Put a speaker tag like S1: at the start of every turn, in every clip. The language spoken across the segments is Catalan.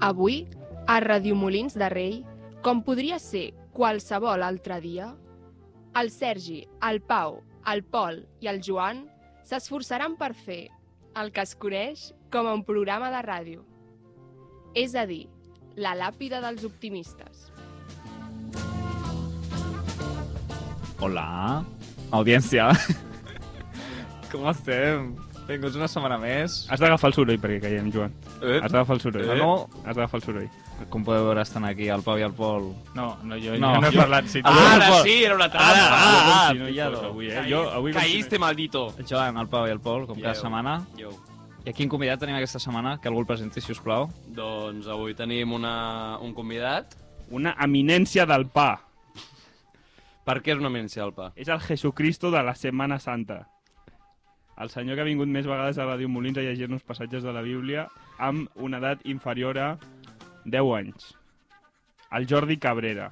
S1: Avui, a Radiomolins de Rei, com podria ser qualsevol altre dia, el Sergi, el Pau, el Pol i el Joan s'esforçaran per fer el que es coneix com un programa de ràdio. És a dir, la làpida dels optimistes.
S2: Hola, audiència. Com estem? Benvinguts una setmana més.
S3: Has d'agafar el soroll perquè caiem, Joan.
S2: Eh?
S3: Has d'agafar el soroll.
S2: Eh?
S3: No, no, has d'agafar el soroll.
S2: Com podeu veure, estan aquí el Pau i el Pol.
S3: No, no, jo,
S2: No,
S3: no, no he
S2: jo-
S3: parlat. Sí,
S2: Ara
S3: Jo-
S2: sí,
S4: Ah, era una
S2: trampa. Ah,
S3: jo no hi
S2: pillado.
S3: fos avui, eh? Jo, avui
S4: Caíste, maldito.
S2: El Joan, el Pau i el Pol, com cada
S4: Ieu.
S2: setmana.
S4: Yo.
S2: I a quin convidat tenim aquesta setmana? Que algú el presenti, si us plau.
S4: Doncs avui tenim una, un convidat.
S3: Una eminència del pa.
S4: Per què és una eminència del pa?
S3: És el Jesucristo de la Setmana Santa. El senyor que ha vingut més vegades a Ràdio Molins a llegir-nos passatges de la Bíblia amb una edat inferior a 10 anys. El Jordi Cabrera.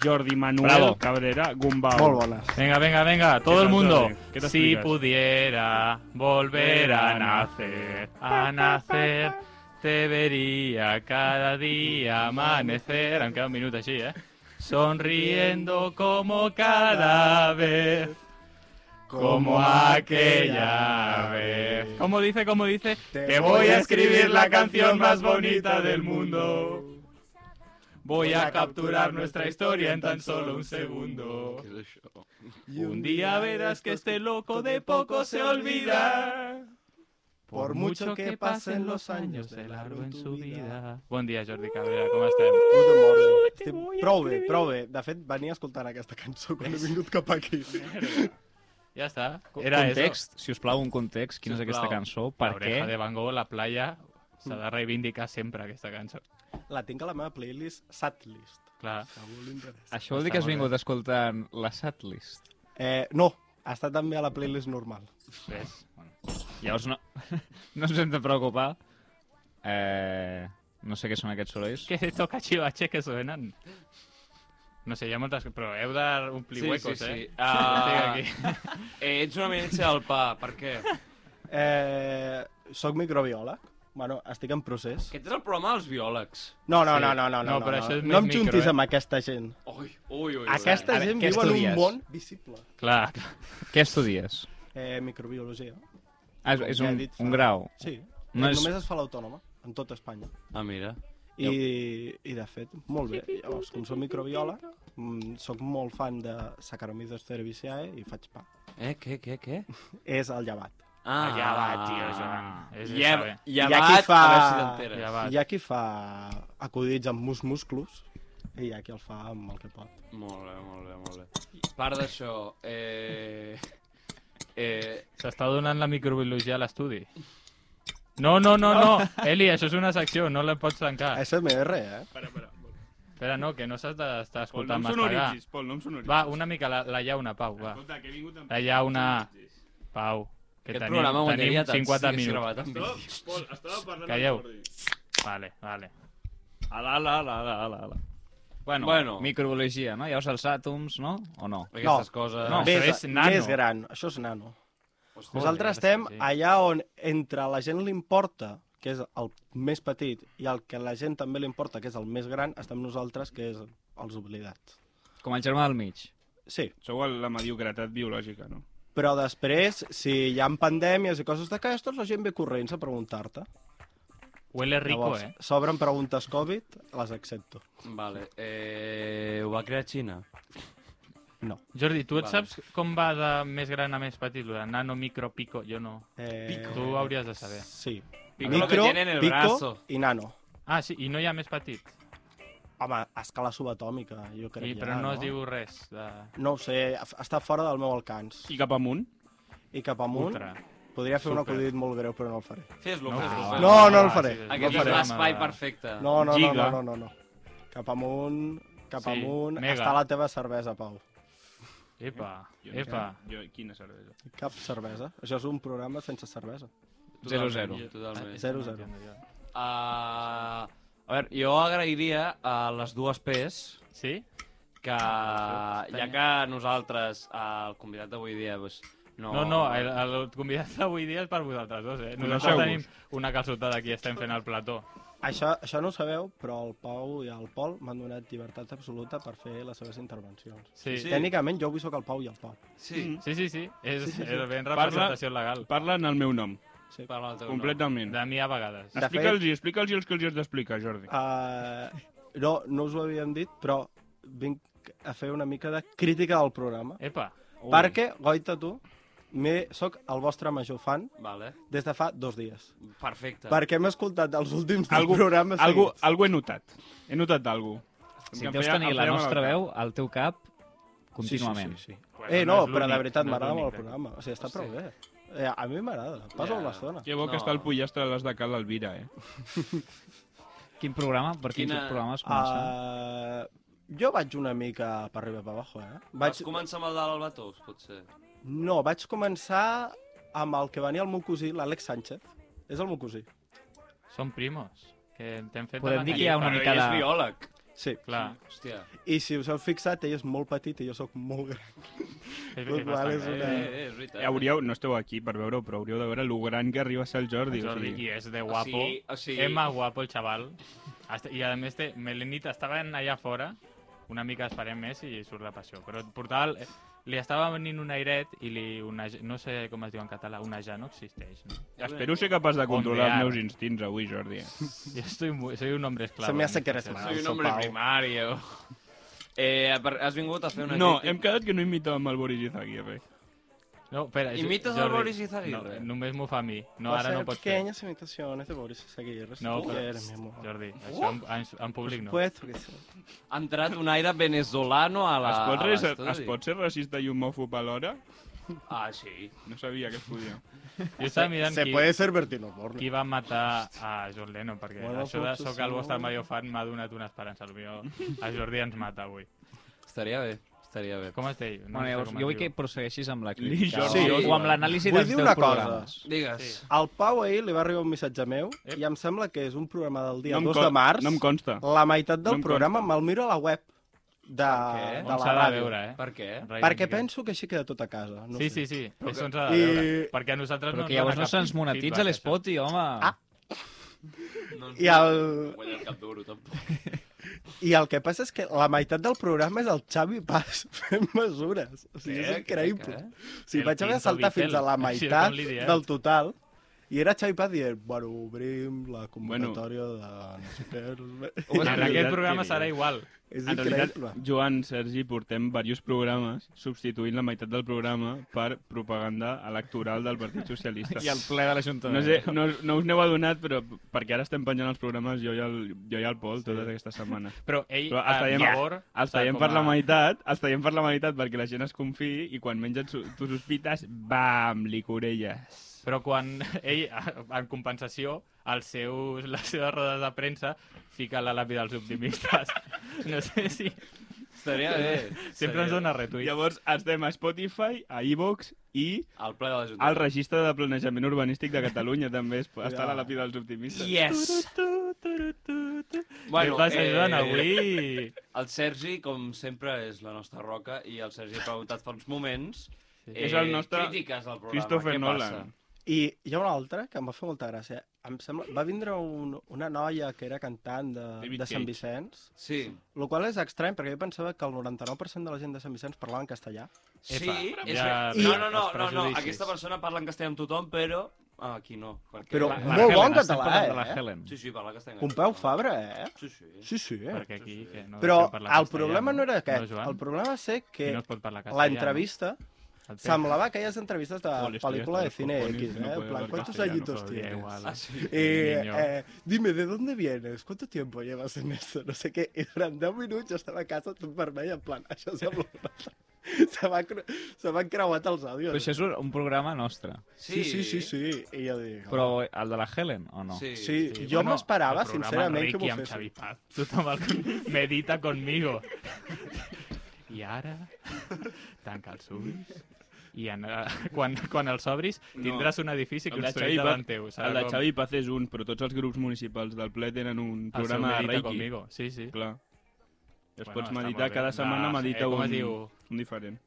S3: Jordi Manuel
S2: Bravo.
S3: Cabrera Gumbau.
S5: Molt bones.
S6: Venga, venga, venga, todo el
S3: tal,
S6: mundo.
S3: Jordi? ¿Qué te
S6: Si
S3: explicas?
S6: pudiera volver a nacer, a nacer, te vería cada día amanecer, aunque un minuto así, ¿eh? Sonriendo como cada vez, como aquella vez. ¿Cómo dice, cómo dice? Te voy a escribir la canción más bonita del mundo. Voy a capturar nuestra historia en tan solo un segundo.
S4: Què és això?
S6: Un día verás que este loco de poco se olvida. Por mucho que pasen los años de largo en su vida. Buen día, Jordi Cabrera, ¿cómo estás?
S5: Good morning. Este Estic prou bé, prou bé. De fet, venia escoltant aquesta cançó quan he vingut cap aquí.
S6: Ya está.
S2: Era
S6: Era eso.
S2: context, si us plau, un context. Quina és
S4: Sisplau.
S2: aquesta cançó?
S6: La
S2: Per
S6: oreja de
S2: què?
S6: Van Gogh, la playa, s'ha
S2: Hmm.
S6: de reivindicar sempre aquesta cançó.
S5: La tinc a la meva playlist Satlist.
S6: Clar.
S5: Si a algú li interessa.
S2: Això vol dir
S6: Està
S2: que has
S6: molt
S2: vingut escoltant la setlist.
S5: Eh, no, està també a la playlist normal.
S6: Ves.
S2: Llavors no, no ens hem de preocupar. Eh, no sé què són aquests sorolls.
S6: Què és esto cachivaches que suenan? No sé, hi ha moltes... Però heu d'omplir huecos, eh?
S4: Ah,
S6: Estic aquí.
S4: eh, ets una eminència del pa, per què?
S5: Eh, soc microbiòleg. Bueno, estic en procés.
S4: Aquest és el programa dels biòlegs.
S5: No, no,
S6: Sí.
S5: no, no,
S6: No,
S5: no. No,
S6: però això és
S5: no em
S6: més
S5: juntis
S6: micro, eh?
S5: amb aquesta gent.
S4: Ui, ui, ui.
S5: Aquesta
S2: A veure,
S5: gent
S2: què
S5: viu en un
S2: estudies?
S5: món visible.
S6: Clar,
S2: Què estudies?
S5: Eh, microbiologia.
S2: Ah, és,
S5: Com
S2: és
S5: ja he
S2: un,
S5: dit fa-
S2: un grau.
S5: Sí.
S2: No
S5: No
S2: és-
S5: és... Només es fa l'autònoma, en tot Espanya.
S4: Ah, mira.
S5: I, I, de fet, molt bé. Llavors, com soc microbiòleg, mm, sóc molt fan de Saccharomyces cerevisiae i faig pa.
S4: Eh, què, què, què?
S5: És el llevat.
S4: Ah,
S6: ja va, tio, Joan.
S2: Ah.
S6: És,
S4: Ja,
S6: està bé.
S4: ja
S5: I
S4: va,
S5: aquí fa-
S4: a veure si t'enteres.
S6: Ja va.
S5: Hi ha qui fa acudits amb mus musclos i hi ha qui el fa amb el que pot.
S4: Molt bé, molt bé, molt bé. A Part d'això, eh... Eh,
S6: S'està donant la microbiologia a l'estudi. No, no, no, no. Eli, això és una secció, no la pots tancar.
S4: Ah.
S5: SMR, eh?
S3: Espera, espera.
S6: Espera, no, que no s'has d'estar
S3: Pol, no
S6: escoltant
S3: em
S6: mastegar.
S3: sonoritzis, Pol, no em sonoritzis.
S6: Va, una mica la, la llauna, Pau, va.
S3: Escolta, que he vingut amb...
S6: La llauna, Pau. Que
S4: aquest
S6: tenim,
S4: programa ho aniria
S6: tenim
S4: tant
S6: 50
S4: si hagués
S6: minuts.
S4: gravat en
S3: Stop,
S4: vídeo.
S3: Pol, estava parlant
S6: Calleu.
S3: amb el Jordi.
S6: Vale, vale.
S2: Ala, ala, ala, ala, ala, ala. Bueno,
S4: Bueno.
S2: bueno, microbiologia, no? Llavors els àtoms, no? O no?
S4: Aquestes coses... eh?
S6: No,
S5: Més-
S6: això és nano.
S5: Més gran, això és nano.
S4: Hòstia,
S5: Nosaltres
S6: sí,
S5: estem
S6: sí.
S5: allà on entre la gent li importa, que és el més petit, i el que la gent també li importa, que és el més gran, estem nosaltres, que és els oblidats.
S2: Com el germà del mig.
S5: Sí,
S3: Sou el- la mediocretat biològica, no?
S5: però després, si hi ha pandèmies i coses d'aquestes, la gent ve corrents a preguntar-te.
S6: Huele rico, eh?
S5: s'obren preguntes Covid, les accepto.
S4: Vale, eh, ho va crear Xina.
S5: No.
S6: Jordi, tu et
S4: Vale.
S6: saps com va de més gran a més petit? Lo de nano, micro, pico? Jo no.
S5: Eh,
S6: Tu ho hauries de saber.
S5: Sí.
S4: Pico lo que
S5: Micro,
S4: tiene en el
S5: pico
S4: brazo.
S5: i nano.
S6: Ah, sí, i no hi ha més petit.
S5: Home, a escala subatòmica, jo crec
S6: I,
S5: que
S6: però
S5: ja,
S6: no es diu res de...
S5: No ho sé, f- està fora del meu alcanç.
S3: I cap amunt?
S5: I cap amunt,
S6: Ultra.
S5: podria fer un
S6: Super.
S5: acudit molt greu, però no el faré.
S4: Fes-lo,
S6: ho
S4: fes-lo.
S6: facis.
S4: fes-lo.
S5: No, no el faré.
S6: Ah, sí, sí,
S4: Aquest
S6: no
S4: és
S6: eh, faré.
S4: l'espai
S6: M'agrada.
S4: perfecte.
S5: No, no, no,
S3: Lliga.
S5: no, no, no, no. Cap amunt, cap
S6: Sí,
S5: amunt,
S6: mega.
S5: està la teva cervesa, Pau.
S6: Epa,
S3: Jo no
S6: epa.
S3: sé. Jo, quina cervesa.
S5: Cap cervesa. Això és un programa sense cervesa.
S2: Zero, zero.
S4: Totalment.
S5: Zero, zero.
S4: Ah, a veure, jo agrairia a les dues P's
S6: Sí?
S4: que, ja que nosaltres, eh, el convidat d'avui dia, doncs, no...
S6: No, no, el, el convidat d'avui dia és per vosaltres dos, eh? Nosaltres
S3: Coneixeu-vos.
S6: tenim una calçotada aquí, estem fent el plató.
S5: Això, això no ho sabeu, però el Pau i el Pol m'han donat llibertat absoluta per fer les seves intervencions.
S6: Sí,
S4: Sí.
S6: sí,
S5: Tècnicament, jo avui sóc el Pau i el Pau.
S4: Sí,
S3: Mm.
S6: sí, sí, sí. És,
S5: Sí, sí, sí.
S6: és ben
S3: Parla-
S6: representació legal.
S3: Parla en el meu nom,
S4: parla el teu
S3: completament.
S6: De mi a vegades.
S5: De fet-
S3: Explica'ls i explica'ls els que els has d'explicar, Jordi.
S5: Uh, no, no us ho havíem dit, però vinc a fer una mica de crítica del programa.
S6: Epa,
S5: Ui. Perquè, Goita, tu, me, soc el vostre major fan
S4: nom. Vale.
S5: des de fa dos dies.
S4: Perfecte.
S5: Perquè hem escoltat els últims
S3: Algú-
S5: algú, programes
S3: Algú,
S5: seguits.
S3: algú he notat. He notat d'algú.
S2: Si
S3: Em
S2: deus
S3: feia-
S2: tenir
S3: em
S2: la
S3: feia mal
S2: nostra
S3: al cap.
S2: veu al teu cap contínuament.
S5: Sí, sí, sí, sí.
S6: Bueno,
S5: eh,
S6: no
S5: no,
S6: és
S5: però de
S6: l'únic,
S5: veritat
S6: no és
S5: m'agrada molt
S6: l'únic,
S5: el
S6: crec.
S5: programa. O sigui, està prou
S4: Hosti.
S5: bé. Eh, a mi m'agrada. Passo
S4: Ja.
S5: una estona.
S3: Que bo que
S4: No.
S3: està el pollastre a les de Cal l'Elvira, eh?
S2: Quin programa? Per quins
S4: Quina-
S2: programes comencem?
S3: eh?
S5: Uh, jo vaig una mica per arriba per abajo, eh? Vaig,
S4: Vaig començar amb el de l'Albatós, potser.
S5: No, vaig començar amb el que venia el meu cosí, l'Àlex Sánchez. És el meu cosí.
S6: són primos. Que t'hem fet...
S2: Podem
S6: de la
S2: dir que hi ha
S6: califa.
S2: una
S4: Però
S2: mica
S4: ell és
S2: de-
S4: biòleg.
S5: Sí.
S6: Clar,
S4: Hòstia.
S5: I si us heu fixat, ell és molt petit i jo sóc molt gran.
S6: és, és
S5: Igual
S6: bastant...
S5: és
S4: Eh,
S5: una-
S6: eh,
S4: eh, és veritat.
S3: Eh, Hauríeu, no esteu aquí per veure però hauríeu de veure lo gran que arriba a ser el Jordi.
S6: El Jordi,
S3: o
S6: i
S3: sigui,
S6: és de
S4: O
S6: guapo.
S4: sigui- o sigui-
S6: És més guapo el xaval. Hasta- este, I a més, té, Melenit estava allà fora, una mica esperem més i surt la passió. Però portal, eh, li estava venint un airet i li, una, no sé com es diu en català, una ja no existeix. No?
S3: Espero ser capaç de controlar els
S6: Ondear.
S3: meus instints avui, Jordi.
S6: Jo estoy, mu- soy un hombre esclavo.
S5: Se me hace
S6: en
S5: que
S6: este
S5: eres
S6: caso.
S5: mal.
S4: Soy un
S5: Sopau.
S4: hombre primario. Eh, per- has vingut a fer una
S3: No, hem
S4: crítica...
S3: quedat que no imitàvem el Boris Izaguirre.
S6: No, espera, jo-
S4: Imites el
S6: Jordi,
S4: Boris Izaguirre?
S6: No, només m'ho fa a mi. No,
S5: Va
S6: ara
S5: ser
S6: no pots fer.
S5: pequeñas imitaciones de Boris Seguir.
S6: No,
S5: pero...
S6: però,
S5: mi amor.
S6: Jordi, això en, en, en públic no.
S5: Pues, que sí.
S4: Ha entrat un aire venezolano a la-
S3: Es pot,
S4: a
S3: res,
S4: l'estudi.
S3: es pot ser racista i homòfob alhora?
S4: Ah, sí.
S3: No sabia que es podia.
S6: Jo estava mirant
S5: pues Se
S6: qui,
S5: puede ser Bertino Borne.
S6: qui va matar a John Lennon, perquè
S5: Bueno,
S6: això de
S5: potser
S6: soc
S5: sí,
S6: el
S5: no?
S6: vostre major fan m'ha donat una esperança. Potser a Jordi ens mata avui.
S4: Estaria bé, estaria bé.
S6: Com es deia?
S2: Bueno, llavors, jo vull que prossegueixis amb la crítica
S3: Jordi,
S2: o,
S4: Sí.
S2: o amb l'anàlisi
S5: Vull
S2: dels
S5: dir
S2: 10
S5: una cosa.
S2: programes.
S4: Digues.
S6: Sí.
S5: Al Pau ahir li va arribar un missatge meu
S6: Ep.
S5: i em sembla que és un programa del dia
S3: em
S5: 2
S3: con-
S5: de març.
S3: No em consta.
S5: la meitat
S3: no
S5: del
S3: em
S5: programa me'l miro a la web de,
S4: Per què?
S5: de
S6: On
S5: la
S6: s'ha de
S5: ràdio.
S6: veure, eh?
S4: Per què?
S6: Rai,
S5: Perquè
S6: Jordi.
S5: penso que així queda tot a casa. No
S6: Sí, sí,
S5: sé.
S6: sí, això ens ha de
S5: I-
S6: veure. Perquè a nosaltres
S2: Però
S6: no
S2: que llavors
S6: dona
S2: no
S6: cap
S2: se'ns monetitza
S6: feedback, eh?
S2: l'Spoti, home.
S5: Ah.
S4: No ens
S5: I el,
S4: guanya el cap duro, tampoc.
S5: I el que passa és que la meitat del programa és el Xavi Pas fent mesures. O sigui,
S6: Eh,
S4: Què?
S5: és increïble.
S4: Què?
S5: O sigui,
S6: El
S5: vaig haver de
S6: Pinto
S5: saltar
S6: Vitel.
S5: fins a la
S6: Així és
S5: meitat
S6: com li diem.
S5: del total i era Xavi Pas dient, bueno, obrim la convocatòria de no sé què.
S6: això. En aquest programa
S3: Diria.
S6: serà igual.
S5: És
S3: En realitat,
S5: increïble.
S3: Joan, Sergi, portem diversos programes substituint la meitat del programa per propaganda electoral del Partit Socialista.
S2: I el ple de l'Ajuntament.
S3: No, sé, no, no us n'heu adonat, però perquè ara estem penjant els programes jo i el, jo i el Pol totes aquestes setmanes.
S6: Però ell,
S3: Però
S6: a
S3: els traiem,
S6: favor...
S3: els
S6: s'ha
S3: traiem
S6: com
S3: per la
S6: a-
S3: meitat, els traiem per la meitat perquè la gent es confiï i quan menys et su- tu sospites, bam, licorelles.
S6: Però quan ell, en compensació, els seus, les seves rodes de premsa fica la làpida dels optimistes. No sé si...
S4: Estaria bé.
S6: Sempre
S4: estaria
S6: ens dona
S4: bé.
S6: retuit.
S3: Llavors estem a Spotify, a iVox i
S4: El ple de l'Ajuntament.
S3: al registre de planejament urbanístic de Catalunya també es, està a la làpida dels optimistes.
S4: Yes!
S6: Bueno, vas,
S4: eh,
S6: Joan, avui...
S4: El Sergi, com sempre, és la nostra roca i el Sergi ha preguntat fa uns moments eh,
S3: És el nostre
S4: crítiques del programa.
S3: Christopher
S4: Què
S3: Nolan.
S5: I hi ha una altra que em va fer molta gràcia. Em sembla... Va vindre un, una noia que era cantant de,
S3: David
S5: de Sant
S3: Cage.
S5: Vicenç,
S4: Passa? Sí.
S5: el qual és estrany perquè jo pensava que el 99% de la gent de Sant Vicenç parlava en castellà.
S4: Sí,
S6: Epa,
S4: és...
S6: ja
S4: que- No, no, no, no,
S6: els
S4: no,
S6: prejudicis.
S4: aquesta persona parla en castellà amb tothom, però ah, aquí no. Perquè...
S5: Però
S2: La- la
S5: molt bon
S2: Helen, estem
S5: català,
S2: parlant de
S5: eh?
S2: La Helen.
S4: Sí, sí, parla castellà.
S5: Pompeu Fabra, eh?
S4: Sí, sí.
S5: Sí, sí. Eh?
S6: Perquè aquí,
S4: sí, sí.
S6: que no
S5: Però
S6: deixem parlar
S5: el
S6: castellà,
S5: problema no era aquest.
S6: No, Joan?
S5: el problema va ser
S6: Que
S5: que
S6: no es pot parlar castellà.
S5: l'entrevista
S6: no? El tema-
S5: semblava aquelles entrevistes de
S3: Joder, estoy hasta
S5: pel·lícula de
S3: los
S5: cine
S3: cojones,
S5: X, eh?
S3: no puedo
S5: en plan,
S3: hablar
S5: ¿cuántos
S3: castellano
S5: añitos
S6: todavía,
S5: tienes?
S6: igual.
S4: Ah, sí.
S5: Eh,
S6: niño.
S5: eh, dime, ¿de dónde vienes? ¿Cuánto tiempo llevas en esto? No sé què. I durant 10 minuts jo estava a casa tot vermell, en plan, això sembla... se, va, cre- se m'han creuat els àudios.
S2: Però això és un- un programa nostre.
S5: Sí, sí, sí, sí. I jo dic...
S2: Però el de la Helen, o no?
S4: Sí.
S5: Sí, jo
S6: Bueno,
S5: m'esperava,
S6: el programa
S5: sincerament, que
S6: Ricky
S5: m'ho
S6: amb Xavi
S5: fessin.
S6: Paz. Tothom el medita conmigo. I ara, tanca els ulls, i en, eh, quan, quan els obris tindràs un edifici
S3: El de
S6: construït
S3: Xavi Paz-
S6: davant teu. Serà
S3: El de
S6: com
S3: Xavi Paz és un, però tots els grups municipals del ple tenen un
S6: el seu
S3: programa de
S6: Medita
S3: Reiki.
S6: Conmigo. Sí, sí.
S3: Clar. Es
S6: Bueno,
S3: pots
S6: està
S3: meditar,
S6: molt bé.
S3: cada setmana
S6: De-
S3: medita
S6: eh, com
S3: un,
S6: es diu?
S3: un diferent.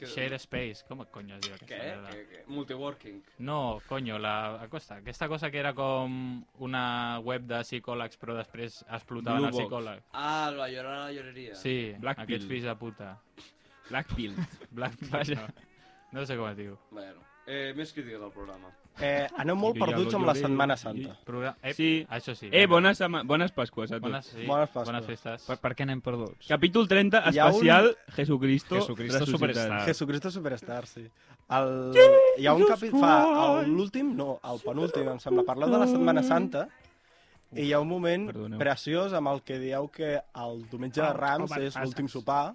S4: Que-
S6: Share Space. ¿Cómo coño es diu
S4: Què?
S6: aquesta merda?
S4: Què- què? Multiworking.
S6: No, coño, la aquesta, aquesta cosa que era com una web de psicòlegs però després explotaven
S3: Blue
S6: el
S3: Box.
S6: psicòleg.
S4: Ah, la llorona, la lloreria.
S6: Sí,
S3: Black
S6: aquests
S3: Pill.
S6: fills de puta.
S3: Blackpill.
S6: Black Vaja. No sé com es diu.
S4: Bueno, eh, més crítiques al programa.
S5: Eh, aneu molt
S6: Jo ja
S5: perduts
S6: lo
S5: amb la
S6: lloré.
S5: Setmana Santa.
S6: Progra... Eh,
S3: Sí.
S6: Això sí.
S3: Eh,
S6: vinga.
S3: bones, sema- bones Pasques a tots.
S6: Bones, sí.
S5: Bones Pasques.
S6: bones festes.
S2: Per, per què anem perduts?
S3: Capítol 30,
S5: Hi ha un-
S3: especial Jesucristo,
S2: Jesucristo
S3: resucitat.
S6: Ah.
S2: Superstar.
S5: Jesucristo Superstar, sí. El... Hi ha un capítol... Fa el- l'últim, no, el penúltim, em sembla. Parleu de la Setmana Santa i hi ha un moment
S3: perdoneu.
S5: preciós amb el que dieu que el diumenge de Rams és l'últim sopar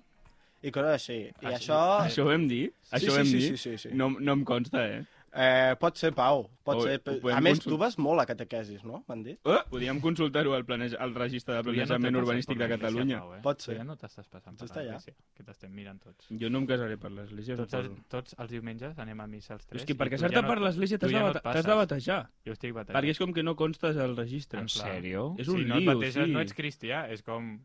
S5: i coses així. I
S6: Ah, sí.
S5: això...
S3: Això ho vam dir?
S5: Sí,
S3: Això
S5: sí,
S3: ho vam
S5: sí,
S3: dir?
S5: sí, sí, sí.
S3: No, no em consta, eh?
S5: Eh, pot ser, Pau. Pot
S3: Ho-
S5: ser.
S3: ho podem
S5: A més,
S3: consultar.
S5: tu vas molt a catequesis, no? M'han dit.
S3: Eh? Podríem consultar-ho al, planeja, al registre de
S6: Tu ja no
S3: planejament
S6: te passes
S3: urbanístic
S6: per
S3: de
S6: la iglesia,
S3: Catalunya.
S6: Pau, eh?
S5: Pot
S6: Tu
S5: ser.
S6: ja no t'estàs passant per
S5: Està allà.
S6: l'Eglésia, que t'estem mirant tots.
S3: Jo no em casaré per l'església,
S6: Tots, els,
S3: suposo.
S6: tots els diumenges anem a missa els tres.
S3: És que per
S6: i tu
S3: casar-te
S6: ja no-
S3: per l'església
S6: tu
S3: t'has
S6: ja
S3: de,
S6: no et
S3: bata- t'has
S6: passes.
S3: de batejar.
S6: Jo estic batejat.
S3: Perquè és com que no constes al registre.
S2: En sèrio?
S3: És un
S6: si no et
S3: lío,
S6: bateges,
S3: sí.
S6: no ets cristià, és com...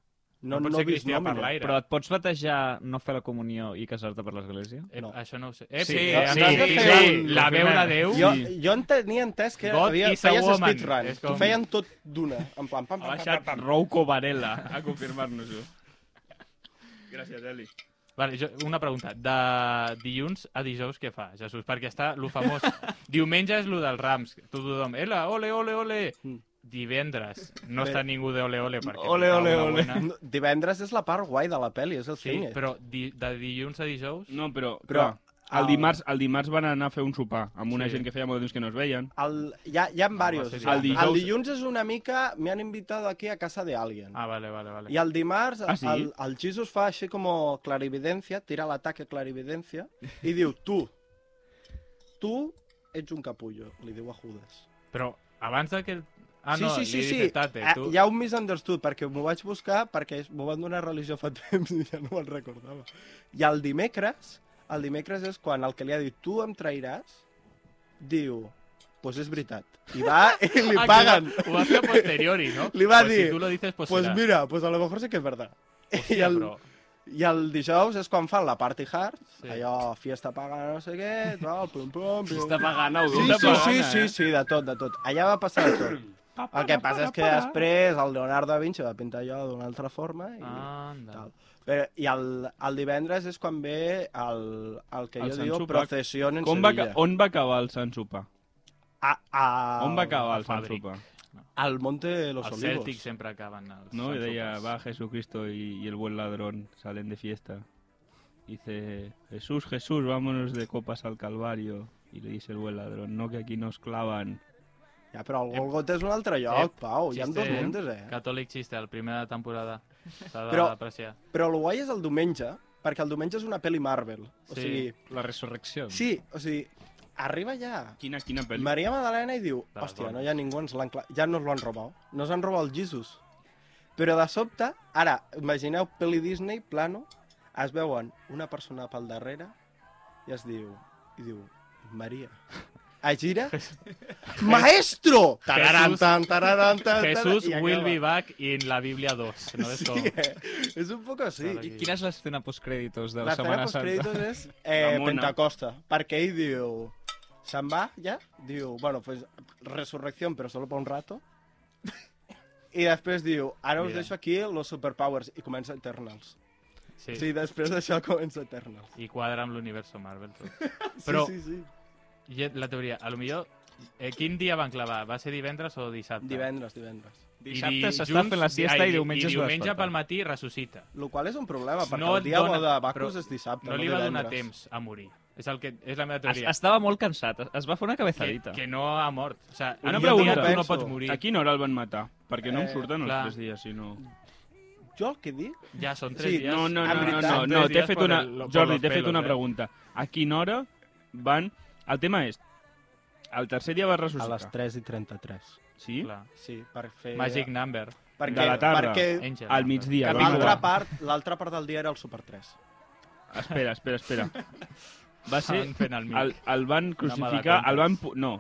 S5: No,
S6: pots Ah, ser
S5: vis
S6: cristià eh? per
S5: nomine.
S6: l'aire.
S2: Però et pots batejar, no fer la comunió i casar-te per l'església?
S6: Eh,
S5: No.
S6: Això no ho sé. Eh,
S2: Sí,
S6: sí,
S2: sí,
S6: em
S2: sí,
S6: vas
S5: sí,
S6: dir,
S5: sí,
S6: sí, la veu de
S2: confirmem.
S6: Déu.
S5: Jo, jo en tenia entès que
S6: God
S5: havia,
S6: is a
S5: feies
S6: woman.
S5: speedrun.
S6: És com-
S5: Com... Feien tot d'una. En plan, pam,
S3: Ha
S5: pam, pam,
S3: baixat
S5: pam, pam.
S3: Rouco Varela a confirmar-nos-ho. Gràcies, Eli.
S6: Vale, jo, una pregunta. De dilluns a dijous què fa, Jesús? Perquè està lo famós. Diumenge és lo dels Rams. Tu tothom, ela, ole, ole, ole.
S5: Mm.
S6: Divendres. No
S5: Bé.
S6: està ningú de ole, ole. Perquè
S3: Ole,
S6: no fa
S3: ole,
S6: una
S3: ole.
S6: bona.
S5: No, Divendres és la part guai de la pel·li, és el
S6: Sí,
S5: cine.
S6: però di de dilluns a dijous...
S3: No, però,
S5: Però,
S3: clar, el,
S5: el-
S3: dimarts, el dimarts van anar a fer un sopar amb una
S6: Sí.
S3: gent que feia molt de temps que no es veien.
S5: El, hi ha, hi ha
S6: va
S5: diversos.
S6: ser
S5: O sigui, el,
S3: divendres.
S5: dijous... el dilluns és una mica... Me han invitado aquí a casa de alguien.
S6: Ah, vale, vale, vale.
S5: I el dimarts,
S3: Ah, sí?
S5: el, el Jesus fa així com clarividència, tira l'ataque clarividència, i diu, tu, tu ets un capullo, li diu a Judas.
S6: Però abans de que... el- Ah, no,
S5: sí, sí,
S6: li
S5: sí,
S6: he dit tate,
S5: Eh,
S6: tu...
S5: Hi ha un misunderstood, perquè m'ho vaig buscar, perquè m'ho van donar a religió fa temps i ja no me'n recordava. I el dimecres, el dimecres és quan el que li ha dit tu em trairàs, diu, pues és veritat. I va i li
S6: Ah, que
S5: paguen.
S6: Ho va, ho va fer a posteriori, no?
S5: Li va
S6: pues
S5: dir,
S6: Si tu lo dices, pues,
S5: Pues
S6: será.
S5: mira, pues a lo mejor sí que és verdad.
S6: Hòstia,
S5: i el-
S6: però...
S5: I el dijous és quan fan la party hard,
S6: Sí.
S5: sí. allò, fiesta pagana, no sé què, tal, pum, pum, pum.
S4: Està pagant a
S5: Sí,
S3: Fiesta
S5: sí,
S3: pagana,
S5: sí,
S3: eh?
S5: sí, sí, de tot, de tot. Allà va passar de tot.
S3: Ah,
S5: El que passa és que després el Leonardo da Vinci va pintar allò d'una altra forma i
S3: Ah.
S6: Anda.
S5: tal. Però, I el, el divendres és quan ve el, el que
S3: El
S5: jo
S3: Sant
S5: diu
S3: Sopar.
S5: procesión en
S3: Com va,
S5: Sevilla.
S3: ca- on va acabar el Sant Sopar?
S5: A, Ah, a,
S3: On va acabar el
S6: a
S3: Sant
S6: Fabric.
S3: Sopar?
S5: Al Monte de los
S6: Els
S5: Olivos.
S6: Celtics sempre acaben els
S3: No,
S6: Sant
S3: y deia,
S6: Sopars.
S3: va Jesucristo y, y el buen ladrón, salen de fiesta. Dice, Jesús, Jesús, vámonos de copas al Calvario. Y le dice el buen ladrón, no, que aquí nos clavan.
S5: Ja, però
S3: Eh,
S5: el Golgota és un altre lloc, Pau. Oh, Hi ha dos
S6: Xiste
S5: montes, eh?
S6: Catòlic xiste, el primer de temporada. S'ha
S5: Però-
S6: d'apreciar.
S5: Però el guai és el diumenge, perquè el diumenge és una pel·li Marvel. O
S6: Sí.
S5: sigui,
S2: La resurrecció?
S5: sí, o sigui, arriba ja
S3: Quina, quina pel·li?
S5: Maria Magdalena i diu,
S6: De les
S5: hòstia,
S6: dones.
S5: no hi ha ningú, ens l'han cla- ja no ens l'han robat. No ens han robat el Jesus. Però de sobte, ara, imagineu pel·li Disney, plano, es veuen una persona pel darrere i es diu, i diu, Maria. Es gira, maestro! Tararan, tan, tararan, tan, tararan,
S6: Jesús
S5: i acaba.
S6: will be back in la Bíblia 2. No és
S5: Sí,
S6: com...
S5: eh? és un poc així.
S6: Clar,
S5: I
S2: I quina és l'escena postcrèditos de la,
S5: La
S2: Setmana
S5: cena
S2: Santa?
S5: postcrèditos és eh,
S3: La mona.
S5: Pentacosta, perquè ell diu... Se'n va, ja? Diu, bueno, pues resurrección, pero solo por un rato. I després diu, ara us
S6: Mira.
S5: deixo aquí los superpowers, i comença Eternals.
S6: Sí.
S5: Sí, després d'això comença Eternals.
S6: I quadra amb l'universo Marvel. Tot.
S5: Sí,
S6: Però-
S5: sí, sí.
S6: I la teoria, a lo millor... Eh, quin dia van clavar? Va ser divendres o dissabte?
S5: Divendres, divendres.
S6: I
S2: Dissabte
S6: dilluns-
S2: s'està fent la siesta
S6: ai,
S2: i diumenge
S6: I
S2: es va
S6: diumenge
S2: despertar.
S6: pel matí ressuscita.
S5: Lo qual és un problema, perquè
S6: No
S5: no
S6: et
S5: el dia
S6: dona-
S5: dona... de Bacus
S6: però
S5: és dissabte,
S6: No li
S5: no
S6: va
S5: divendres.
S6: donar temps a morir. És, el que, és la meva
S2: Es,
S6: teoria.
S2: estava molt cansat, es- es va fer una
S6: que,
S2: cabezadita.
S6: que no ha mort. O sea,
S3: Una
S6: un
S3: pregunta.
S6: dia tu no
S5: Penso.
S6: pots morir.
S3: A quina hora el van matar? Perquè no em
S5: Eh,
S3: surten els
S6: clar.
S3: tres dies, si no...
S5: Jo el que dic...
S6: Ja són tres
S5: Sí,
S6: dies.
S3: No, no,
S5: en
S3: no, no,
S5: veritat,
S3: no, no, t'he fet una... Jordi, t'he fet
S5: eh.
S3: una
S6: pregunta.
S3: pregunta. A quina hora van... El tema és, el tercer dia va
S5: A les
S3: ressuscitar.
S5: 3 i 33.
S3: Sí?
S5: Sí, per fer...
S6: Magic number.
S5: Perquè,
S3: De la tarda.
S5: Perquè
S6: Angel.
S3: Al
S6: number.
S3: migdia. va
S5: l'altra
S3: matar.
S5: part, l'altra part del dia era el Super 3.
S3: Espera, espera, espera. Va ser
S6: Estaven fent el mic.
S3: El, el van crucificar,
S6: comptes.
S3: el van... pu- No,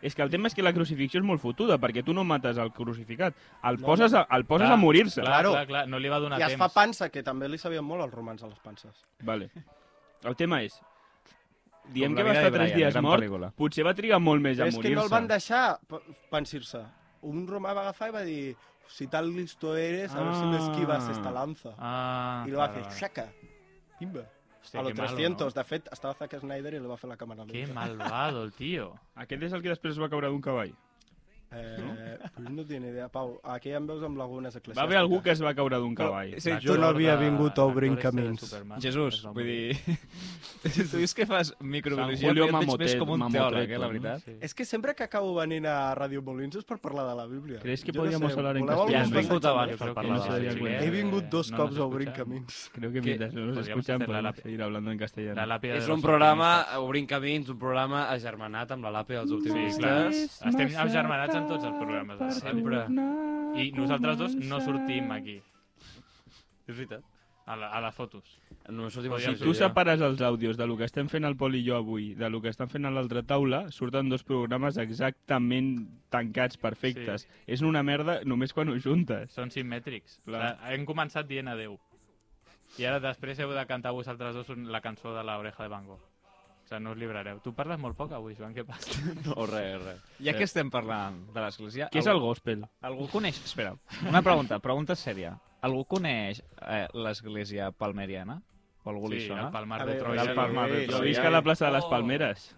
S3: és que el tema és que la crucifixió és molt fotuda, perquè tu no mates el crucificat, el
S5: No,
S3: poses a, el poses
S6: Clar,
S3: a morir-se.
S6: Clar,
S5: Claro.
S6: clar, clar, no li va donar
S5: I es
S6: temps.
S5: fa pansa, que també li sabien molt els romans a les panses.
S3: Vale. El tema és, diem que va estar 3 dies mort, potser va trigar molt més a
S5: Però és que
S3: morir-se.
S5: no el van deixar p- pensir-se. Un romà va agafar i va dir si tal listo eres, a ver si me esquivas
S3: Ah.
S5: esta lanza.
S6: Ah,
S5: I lo va
S6: vale,
S5: fer,
S6: vale.
S5: xaca, pimba.
S6: Hòstia,
S5: a lo
S6: qué malo,
S5: 300. De fet, estava Zack Snyder i li va fer la càmera
S6: ¿no? Qué
S5: lenta.
S6: malvado el tío.
S3: Aquest és el que després va caure d'un cavall.
S5: Eh, pues no tiene idea, Pau. Aquí em veus amb lagunes eclesiàstiques.
S3: Va haver algú que es va caure d'un
S2: Però,
S3: cavall.
S2: sí,
S6: L'actor
S5: no havia
S6: de-
S5: vingut a obrir
S6: l'actor este de
S5: camins.
S6: Superman
S2: Jesús,
S6: es va
S2: vull
S6: morir.
S2: dir... tu dius que fas
S3: Sant
S2: microbiologia,
S3: Julio
S2: però jo et veig més
S3: Mamotet-
S2: com un teòleg,
S3: Mamoteto,
S2: eh, la
S3: no?
S2: veritat.
S6: Sí.
S5: És que sempre que acabo venint a Ràdio Molins és per parlar de la Bíblia.
S3: ¿Crees que
S5: Jo no
S3: podríamos
S5: sé,
S3: hablar en
S5: voleu
S3: castellano?
S5: alguns
S4: Ja has vingut
S5: missatges?
S4: abans.
S6: Yo
S4: per
S6: creo que
S4: parlar
S3: de
S6: no se
S3: la
S6: debería-
S3: Biblia.
S5: He vingut dos
S6: no nos
S5: cops a obrir
S6: escuchan.
S5: camins.
S3: Creo que
S6: ¿Qué?
S3: mientras no nos
S6: Podríamos
S3: escuchan
S6: hacer la
S3: podemos
S6: lápida.
S3: seguir hablando en castellano.
S6: La lápida
S4: És
S6: de
S4: un
S6: los
S4: programa,
S6: optimistas.
S4: Obrint Camins, un programa agermanat amb la làpia dels
S6: Sí, clar.
S4: optimistes.
S6: Estem agermanats en tots els programes. de la ràdio.
S4: Sempre.
S6: I nosaltres dos no sortim aquí,
S4: És veritat.
S6: a, la, a les fotos.
S4: Només sortim
S6: Podríem
S4: així.
S3: Si tu separes els àudios de lo que estem fent el Pol i jo avui de lo que estan fent a l'altra taula, surten dos programes exactament tancats, perfectes. És una merda només quan ho juntes.
S6: Són simètrics.
S3: Clar.
S6: La- Hem començat dient adeu. I ara després heu de cantar vosaltres dos un- la cançó de l'oreja de Van Gogh. O sigui, no us librareu. Tu parles molt poc avui, Joan, què passa?
S4: No, res, res.
S2: Ja que estem parlant de l'església...
S3: Què és el gospel?
S2: Algú coneix... Espera, una pregunta, pregunta sèria. Algú coneix eh, l'església palmeriana? O algú li
S6: sí,
S2: sona?
S6: el Palmar
S5: A
S6: de
S5: veure,
S6: Troia.
S5: sí,
S6: El Palmar de
S5: sí,
S3: Jo
S6: Troia.
S3: visc a la plaça de les
S6: Oh.
S3: Palmeres.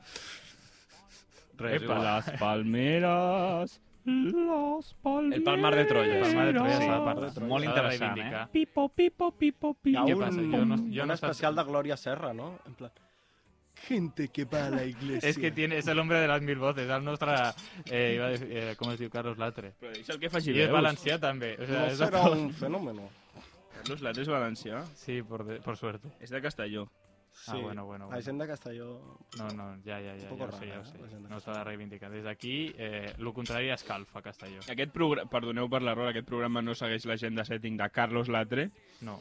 S4: Res,
S3: Epa.
S4: igual.
S3: Las palmeras, las palmeras...
S4: El Palmar de Troya.
S6: El Palmar de Troia s'ha de parlar.
S5: Sí,
S6: S'ha de
S2: molt interessant,
S6: reivindicar.
S3: Pipo, pipo, pipo,
S5: Hi
S3: pipo.
S5: ha
S6: què
S5: un,
S6: passa? Jo no- jo
S5: un
S6: no
S5: especial
S6: sap-
S5: de Glòria Serra, no? En plan, gente que va a la iglesia.
S6: Es que tiene, es el hombre de las mil voces, el nostre... Eh, iba a decir, eh, com es diu? Carlos Latre.
S3: Però és el que faci
S6: I és
S3: veus.
S6: valencià, també. O sea,
S5: No
S6: és de
S5: serà
S6: tot.
S5: un fenómeno.
S3: Carlos Latre és valencià.
S6: Sí, por, de- por suerte.
S3: eh? És de Castelló.
S5: Sí.
S6: Ah, bueno, bueno,
S5: La
S6: bueno.
S5: gent de Castelló...
S6: No, no, ja, ja, ja,
S5: Un
S6: ja
S5: poco
S6: ho sé, ja ho
S5: rara,
S6: sé.
S5: eh, la gent de
S6: No s'ha de reivindicar. Des d'aquí, eh, lo contrari escalfa Castelló.
S3: Aquest programa... Perdoneu per l'error, aquest programa no segueix l'agenda setting de Carlos Latre.
S6: No,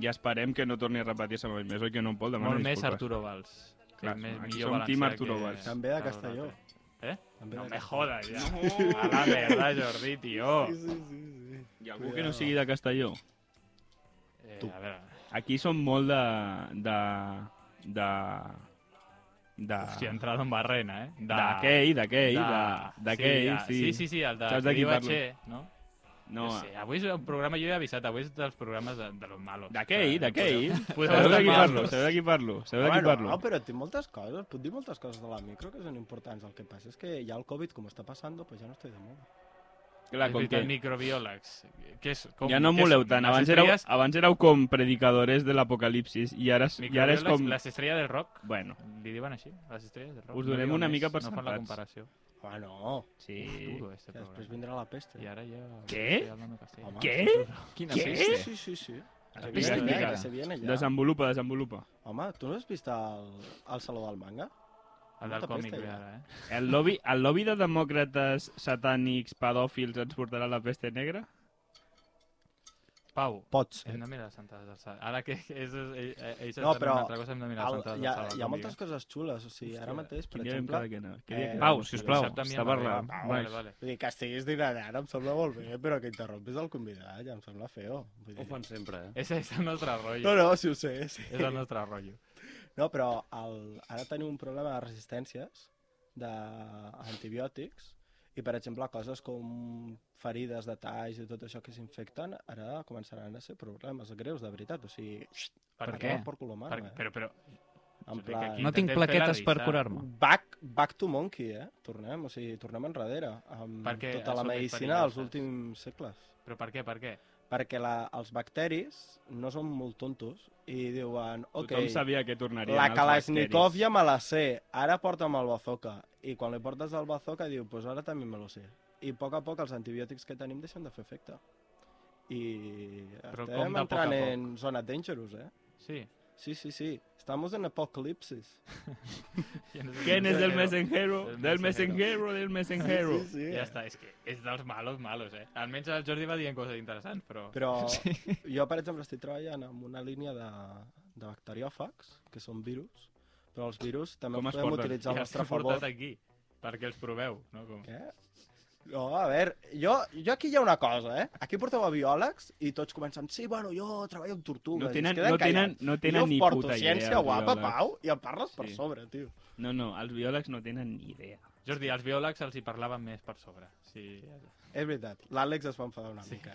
S3: I esperem que no torni a repetir-se mai més, oi que no em pot demanar
S6: molt més
S3: disculpes.
S6: Arturo Valls. que
S3: Clar,
S6: és més,
S3: aquí
S6: millor
S3: som team
S6: valencià
S3: Arturo
S6: que
S3: Valls.
S5: També de
S6: Carlos
S5: Castelló.
S6: Latre. Eh?
S5: També
S6: No
S5: de
S6: me
S5: Castelló.
S6: jodas, ya. A la merda, Jordi, tío.
S5: Sí, sí, sí. sí.
S3: Hi ha algú que no sigui de Castelló?
S6: Eh,
S5: Tu.
S6: a veure,
S3: Aquí som molt de... de... de...
S5: Ah.
S3: de...
S6: hòstia, ha entrat en barrena, eh?
S3: d'aquell, d'aquell, de- d'aquell,
S6: de-
S3: sí.
S6: Sí, sí, sí, el de...
S3: Saps
S6: que
S3: de qui
S6: diu a
S3: parlo?
S6: Che, no?
S3: No,
S6: Jo sé, avui és el programa, jo he avisat, avui és dels programes de, de los malos.
S3: d'aquell, d'aquell.
S6: Podeu
S3: Sabeu de
S6: estar
S3: qui parlo,
S6: malos.
S3: sabeu de qui parlo, sabeu
S6: Ah,
S3: de qui
S5: bueno,
S3: parlo.
S5: no, però té moltes coses, puc dir moltes coses de la micro que són importants. El que passa és que ja el Covid, com està passant, pues ja no estoy de moda.
S3: Clar,
S6: És
S3: com
S6: veritat,
S3: que...
S6: microbiòlegs. Què és, com,
S3: Ja no
S6: què
S3: moleu
S6: són?
S3: tant,
S6: Les
S3: abans éreu,
S6: estrelles-
S3: abans éreu com predicadores de l'apocalipsis i ara, és- i ara és
S6: microbiòlegs,
S3: com...
S6: Les estrelles del rock,
S3: Bueno,
S6: li diuen així, les estrelles del rock.
S3: Us donem
S6: diuen
S3: una
S6: més,
S3: mica per
S6: No fan la
S3: sentats.
S6: comparació.
S5: Ah, no,
S3: sí.
S6: Uf, duro, este
S5: que després
S6: programa.
S5: vindrà la peste.
S6: I ara ja...
S3: Què?
S6: estoy hablando castellano.
S5: Home,
S3: Què?
S5: sí, sí.
S2: Quina
S3: Què?
S5: Sí,
S2: peste?
S5: sí, sí, sí.
S3: La
S5: Se
S3: pista
S5: viene
S3: explica.
S5: ja, que se viene ja.
S3: Desenvolupa, desenvolupa.
S5: Home, tu no has vist el, el Saló del Manga?
S6: El del
S5: Molta
S6: còmic,
S5: pesta,
S6: ve
S5: ja.
S6: ara, eh?
S3: El lobby, el lobby de demòcrates, satànics, pedòfils ens portarà la peste negra?
S6: Pau,
S5: Pots.
S6: hem de mirar les sentades del Sal. Ara que és, és, ells
S5: No,
S6: no,
S5: però
S6: però... una altra cosa, hem de mirar
S5: Al,
S6: les sentades
S5: hi, ha,
S6: del Sal.
S5: hi ha moltes coses xules, o sigui, ara mateix, per
S3: Quin dia vam
S5: exemple...
S3: quedar que no? Quin dia
S5: eh,
S3: quedar?
S2: Pau, sisplau,
S6: Dissabte amb mi
S2: està
S6: a Madrid.
S2: parlant.
S6: Vale, vale.
S5: Vull dir, que estiguis dinant ara em sembla molt bé, però que interrompis el convidat ja em sembla feo. Vull
S4: Ho
S5: dir...
S4: fan sempre, eh?
S6: Ese és el nostre
S5: No,
S6: rotllo.
S5: no, si ho sé, sí.
S6: És el nostre rotllo.
S5: No, però el... ara tenim un problema de resistències d'antibiòtics i, per exemple, coses com ferides de talls i tot això que s'infecten ara començaran a ser problemes greus, de veritat. O sigui, xt,
S6: Per
S5: a
S2: què?
S5: tomar Per culo,
S6: Per,
S5: mare, eh?
S6: però, però,
S5: En
S6: Vull dir que
S5: plan...
S6: aquí-
S2: No tinc
S6: Intentem
S2: plaquetes
S6: fer la
S2: per
S6: risa.
S2: curar-me.
S5: Back, back to monkey, eh? Tornem, o sigui, tornem enrere amb
S6: Perquè
S5: tota la
S6: són
S5: medicina
S6: experimentats.
S5: dels últims segles.
S6: però per què, per què?
S5: Perquè la, els bacteris no són molt tontos i diuen, ok,
S3: Tothom sabia que tornarien
S5: la
S3: els
S5: Kalashnikov
S3: bacteris.
S5: ja me la sé, ara porta'm el bazooka. I quan li portes el bazooka diu, pues ara també me lo sé. I a poc a poc els antibiòtics que tenim deixen de fer efecte. I
S6: Però com de
S5: estem
S6: poc a
S5: entrant
S6: poc?
S5: en zona dangerous, eh?
S6: Sí.
S5: Sí, sí, sí. Estamos en apocalipsis.
S3: ¿Quién es el
S6: messenger?
S3: mensajero?
S6: El
S3: Del
S6: mensajero.
S3: mensajero, del mensajero.
S5: Sí, sí.
S6: Ja està, és que és dels malos malos, eh? Almenys el Jordi va dient coses interessants, però...
S5: Però sí. jo, per exemple, estic treballant amb una línia de, de bacteriòfags, que són virus, però els virus també
S3: Com
S5: els
S3: es
S5: podem
S3: porten?
S5: utilitzar al
S6: ja els
S5: nostre
S6: he
S5: favor.
S6: portat aquí, perquè els proveu, no? Com...
S5: Què? No, a veure, jo, jo aquí hi ha una cosa, eh? Aquí porteu a biòlegs i tots comencen, sí, bueno, jo treballo amb tortugues.
S3: No tenen,
S5: i es queden
S3: no tenen,
S5: callats.
S3: no tenen
S5: jo
S3: ni
S5: porto
S3: puta idea.
S5: ciència
S3: els
S5: guapa,
S3: biòlegs.
S5: Pau, i em parles per
S3: Sí.
S5: sobre, tio.
S3: No, no, els biòlegs no tenen ni idea.
S6: Jordi, als biòlegs els hi parlaven més per sobre. Sí.
S5: És veritat, l'Àlex es va enfadar una
S6: Sí.
S5: mica.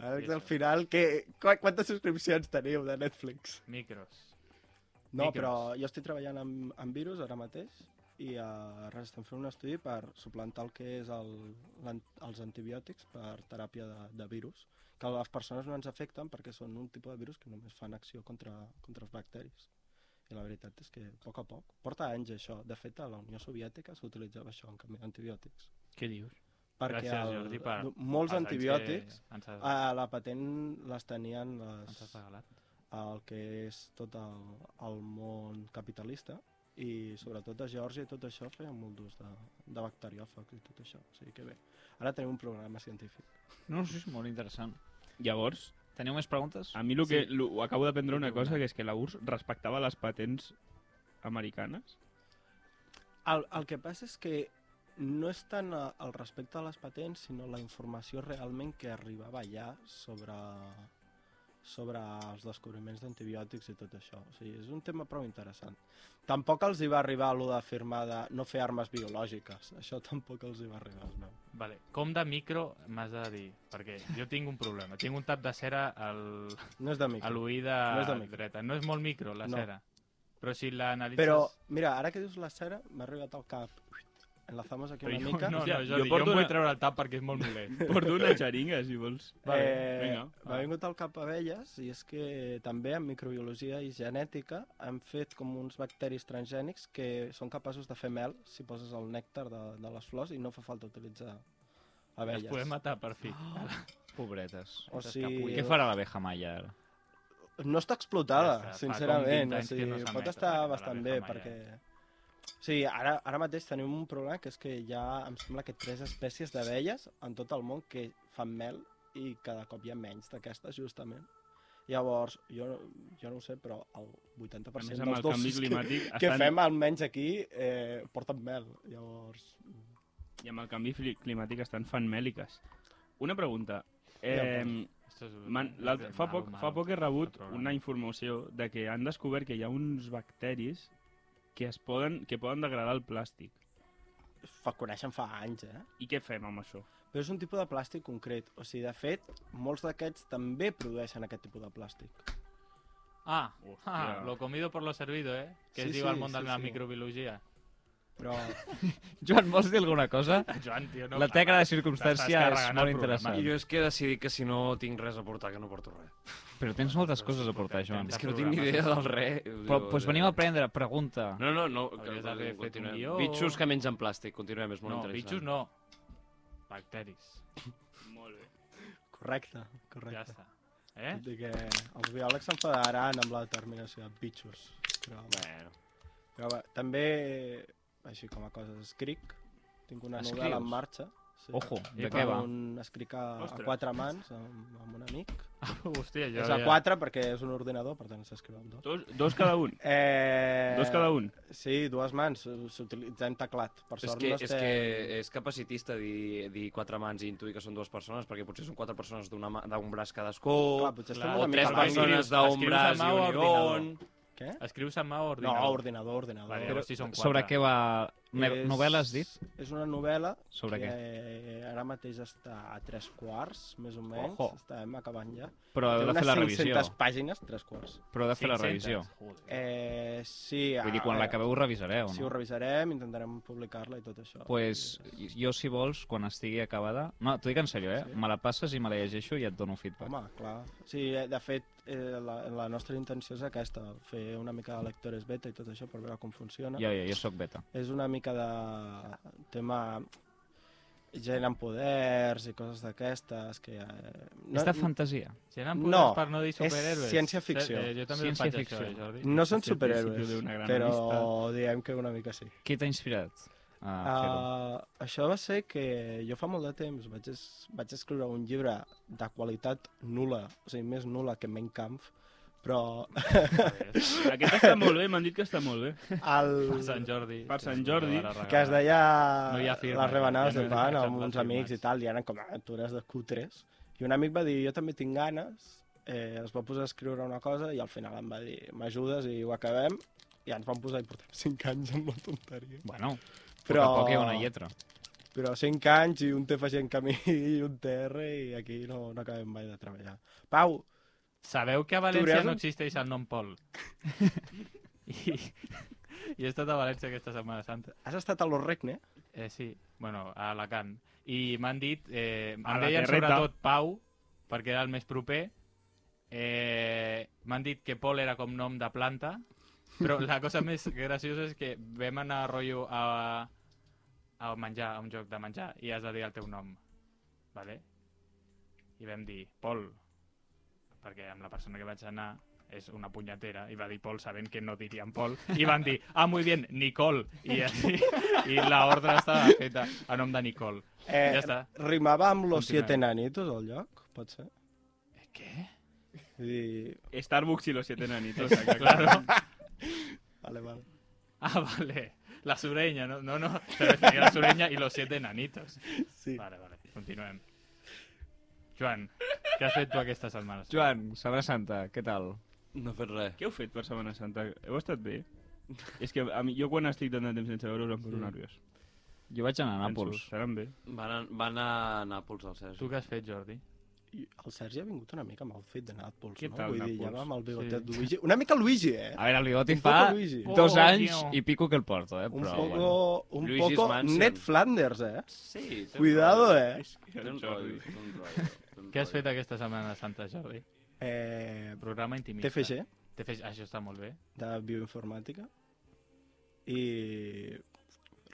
S5: L'Àlex,
S6: Sí,
S5: al
S6: sí.
S5: final, que... qu- quantes subscripcions teniu de Netflix?
S6: Micros.
S5: No,
S6: Micros.
S5: però jo estic treballant amb, amb virus ara mateix i uh, res, estem fent un estudi per suplantar el que és el, l'an- els antibiòtics per teràpia de, de virus, que a les persones no ens afecten perquè són un tipus de virus que només fan acció contra, contra els bacteris. I la veritat és que, a poc a poc, porta anys això. De fet, a la Unió Soviètica s'utilitzava això en canvi d'antibiòtics.
S6: Què dius?
S5: Perquè
S6: Gràcies, Jordi, per...
S5: molts
S6: els anys que
S5: antibiòtics Ah.
S6: Ens has,
S5: a la patent les tenien les,
S6: ens has regalat.
S5: el que és tot el, el món capitalista i sobretot a Geòrgia i tot això feien molt d'ús de, de bacteriòfags i tot això, o sigui que bé. Ara tenim un programa científic.
S2: No, sí, és molt interessant.
S3: Llavors,
S2: Teniu més preguntes?
S3: a mi lo que,
S2: Sí.
S3: lo, ho acabo d'aprendre una
S2: Tinc una.
S3: cosa, que és que la URSS respectava les patents americanes.
S5: El, el que passa és que no és tant eh, el respecte a les patents, sinó la informació realment que arribava allà sobre, sobre els descobriments d'antibiòtics i tot això. O sigui, és un tema prou interessant. Tampoc els hi va arribar allò de firmar de no fer armes biològiques. Això tampoc els hi va arribar, es veu.
S6: Vale. Com de micro m'has de dir? Perquè jo tinc un problema. Tinc un tap de cera al,
S5: No és de
S6: a
S5: micro.
S6: l'oïda
S5: No és de micro.
S6: dreta. No és molt micro, la
S5: No.
S6: cera. Però si l'analitzes...
S5: Però, mira, ara que dius la cera, m'ha arribat al cap. Enlazamos aquí
S6: Però
S5: una
S6: jo,
S5: mica.
S6: No, no,
S3: Hòstia,
S6: Jordi,
S3: jo
S6: jo,
S3: porto
S6: em vull
S3: una-
S6: treure el tap perquè és molt molest.
S3: Porto una xeringa, si vols.
S6: Vale,
S5: eh,
S3: vinga,
S5: M'ha
S6: va.
S5: vingut al cap abelles i és que també en microbiologia i genètica han fet com uns bacteris transgènics que són capaços de fer mel si poses el nèctar de, de les flors i no fa falta utilitzar
S6: Els
S5: abelles.
S6: podem matar, per fi.
S2: Pobretes.
S5: O sigui-
S2: Què farà l'abeja malla ara?
S5: No
S6: Ja està,
S5: està explotada,
S6: fa com
S5: sincerament.
S6: 20
S5: O
S6: anys que
S5: sigui,
S6: no s'emet,
S5: pot
S6: la
S5: estar
S6: de la
S5: bastant bé,
S6: abeja
S5: perquè... Sí, ara, ara mateix tenim un problema que és que hi ha, em sembla que tres espècies d'abelles en tot el món que fan mel i cada cop hi ha menys d'aquestes, justament. Llavors, jo, no- jo no ho sé, però el
S3: A
S5: 80%
S3: més, amb
S5: dels
S3: el canvi
S5: dolços que,
S3: climàtic...
S5: que
S3: estan-
S5: fem, almenys aquí, eh, porten mel. Llavors,
S3: I amb el canvi fli- climàtic estan fan mèliques. Una pregunta.
S5: Digue'm,
S3: Eh, man, l'altre- fa, poc, fa poc he rebut una informació de que han descobert que hi ha uns bacteris que, es poden, que poden degradar el plàstic.
S5: fa, coneixen fa anys, eh?
S3: I què fem amb això?
S5: Però és un tipus de plàstic concret. O sigui, de fet, molts d'aquests també produeixen aquest tipus de plàstic.
S6: Ah, ah,
S3: Hòstia.
S6: lo comido por lo servido, eh? Que
S5: Sí,
S6: es diu
S5: sí,
S6: al món de
S5: sí,
S6: la
S5: sí.
S6: microbiologia.
S5: Però...
S2: Joan, vols dir alguna cosa?
S6: Joan, tio, no...
S2: La tecla de
S6: t'estàs
S2: circumstància és
S6: carregant el
S2: molt
S6: programa.
S2: interessant.
S4: I jo és que he decidit que si no tinc res a portar, que no porto res.
S2: Però tens moltes coses a portar, Joan.
S4: És que no tinc ni idea del eh, res.
S2: Però doncs venim a prendre, pregunta.
S4: No, no, no.
S6: Hauries d'haver fet un
S4: continuem.
S6: guió.
S4: Bitxos que mengen plàstic, continuem, és molt
S6: No, bitxos
S4: interessant.
S6: no. Bacteris.
S3: Molt bé.
S5: Correcte, correcte.
S6: Ja està. Eh?
S5: Tot i que els biòlegs s'enfadaran amb la determinació de bitxos. Però,
S4: Bueno,
S5: però va, també, així com a coses, escric. Tinc una
S2: Escrius?
S5: novel·la en marxa. Sí.
S2: Ojo, de
S6: Epa.
S2: què va?
S5: Un, escric a, a
S3: Ostres.
S5: quatre mans, amb, amb un amic.
S6: Hòstia,
S5: Ja,
S6: jo
S5: és a quatre perquè és un ordinador, per tant s'escriu amb dos.
S3: Dos, dos cada un.
S5: Eh...
S3: Dos cada un.
S5: Sí, dues mans. S'utilitzem teclat. Per
S4: és
S5: sort
S4: que,
S5: no
S4: és
S5: estem...
S4: que eh, és capacitista dir, dir quatre mans i intuir que són dues persones, perquè potser són quatre persones d'una mà- d'un braç cadascú,
S5: Clar, potser estem
S6: clar,
S4: o
S5: una
S4: tres
S5: mica...
S6: persones.
S5: lents.
S4: persones d'un
S6: Escrius-
S4: braç
S6: escrius
S4: i
S6: a mà o
S4: un ion...
S6: ordinador?
S5: Què?
S6: Escrius a mà o
S5: No,
S6: ordinador?
S5: ordinador, ordinador.
S6: Vale,
S5: Però
S6: llavors sí són quatre.
S2: Sobre què va? Ne
S5: és-
S2: Novel·la has dit?
S5: És una novel·la
S2: Sobre
S5: que
S2: què?
S5: ara mateix està a tres quarts, més o menys.
S2: Ojo.
S5: Estem acabant ja.
S2: Però heu
S5: Té
S2: de fer la
S5: unes
S2: revisió.
S5: 500 pàgines, tres quarts.
S2: Però heu de fer la
S6: 500.
S2: revisió.
S6: Joder.
S5: Eh, sí,
S2: Vull dir, quan l'acabeu ho revisareu,
S5: Si ho
S2: no?
S5: revisarem, intentarem publicar-la i tot això. Eh,
S2: Pues, jo, si vols, quan estigui acabada... No, t'ho dic en sèrio, eh?
S5: Sí.
S2: Me la passes i me la llegeixo i et dono feedback.
S5: Home, clar. Sí, eh, de fet, eh, la, la nostra intenció és aquesta, fer una mica de lectores beta i tot això per veure com funciona.
S2: Ja, ja, jo sóc beta.
S5: És una mica de tema gent amb poders i coses d'aquestes que... Eh,
S2: No, és de fantasia.
S6: Gent amb
S5: No,
S6: poders per no dir
S5: és
S6: superhérois.
S5: ciència-ficció.
S6: Eh, jo també faig això,
S2: Ciència-ficció.
S6: eh, Jordi.
S5: No són
S3: És el
S5: superhéroes,
S3: principi d'una gran
S5: però
S3: revista.
S5: diem que una mica sí.
S2: Qui t'ha inspirat? a
S6: Ah,
S2: fer-ho?
S5: Uh, això va ser que jo fa molt de temps vaig, es, vaig escriure un llibre de qualitat nula, o sigui, més nula que Mein Kampf, Però
S3: Aquest està molt bé, m'han dit que està molt bé.
S6: Per
S5: el...
S6: Sant Jordi.
S3: Per Sant Jordi,
S5: que es deia
S6: No hi ha firma,
S5: les rebanades
S6: ja no
S5: de
S6: hi ha
S5: pan
S6: firmes,
S5: amb uns
S6: les
S5: amics
S6: firmes.
S5: i tal, i eren com aventures de Q3. I un amic va dir, jo també tinc ganes, eh, es va posar a escriure una cosa i al final em va dir, m'ajudes i ho acabem, i ens vam posar i portem 5 anys amb la tonteria.
S2: Bueno, però...
S5: Però,
S2: a poc hi ha una lletra.
S5: però 5 anys i un té facent camí i un TR i aquí no, no acabem mai de treballar. Pau,
S6: Sabeu que a
S5: Torero?
S6: València no existeix el nom Pol. I, i he estat a València aquesta Setmana Santa.
S5: has estat a los regne?
S6: Eh, sí, bueno, a Alacant. I m'han dit...
S3: A
S6: Eh, em
S3: la
S6: deien
S3: terreta.
S6: sobretot Pau, perquè era el més proper. Eh, m'han dit que Pol era com nom de planta, però la cosa més graciosa és que vam anar a rotllo a, a menjar, a un joc de menjar, i has de dir el teu nom. Vale? I vam dir, Pol, perquè amb la persona que vaig anar és una punyetera, i va dir Pol sabent que no dirien Pol, i van dir, ah, muy bien, Nicole, i així, i la ordre estava feta a nom de Nicole.
S5: Eh,
S6: Ja està.
S5: Rimava amb los
S6: Continuem.
S5: siete nanitos al lloc, pot ser?
S6: Eh, Què?
S5: Vull dir,
S3: Starbucks i los siete nanitos.
S6: Claro.
S5: vale, vale.
S6: Ah, vale. La sureña, no, no, no. Se refería a la sureña y los siete enanitos.
S5: Sí.
S6: Vale, vale, continuem. Joan, què has fet tu aquesta setmana?
S2: Joan, Sabra Santa, què tal?
S4: No he fet res.
S3: Què heu fet per Setmana Santa? Heu estat bé? És que a mi, jo quan estic tant de temps sense veure-us em poso nerviós.
S2: Jo vaig
S6: Ah,
S2: anar a
S3: Penso,
S2: Nàpols.
S3: Seran bé.
S5: Eh,
S4: Van a, van a Nàpols, al Sergi.
S6: Tu què has fet, Jordi?
S5: I el Sergi ha vingut una mica amb el fet de Nàpols,
S3: Què
S5: no?
S3: tal,
S5: Vull dir, ja
S3: Nàpols?
S5: va amb el bigotet
S6: Sí.
S5: de Luigi. Una mica Luigi, eh?
S2: A veure, el bigoti
S5: Un
S2: Ah, fa
S5: poco Luigi.
S2: dos
S6: Oh,
S2: anys
S6: tio.
S2: i pico que el porto, eh?
S5: Un
S2: Però,
S5: poco,
S2: bueno.
S5: un
S4: Luigi's
S5: poco
S4: Mansion.
S5: Ned Flanders, eh?
S4: Sí, té un
S5: Cuidado,
S4: rotllo.
S5: eh?
S4: Té un rotllo, té un rotllo, té un
S6: Què has fet
S4: rotllo.
S6: aquesta setmana Santa, Jordi?
S5: eh
S6: Programa intimista.
S5: TFG,
S6: TFG, això està molt bé.
S5: de bioinformàtica. I...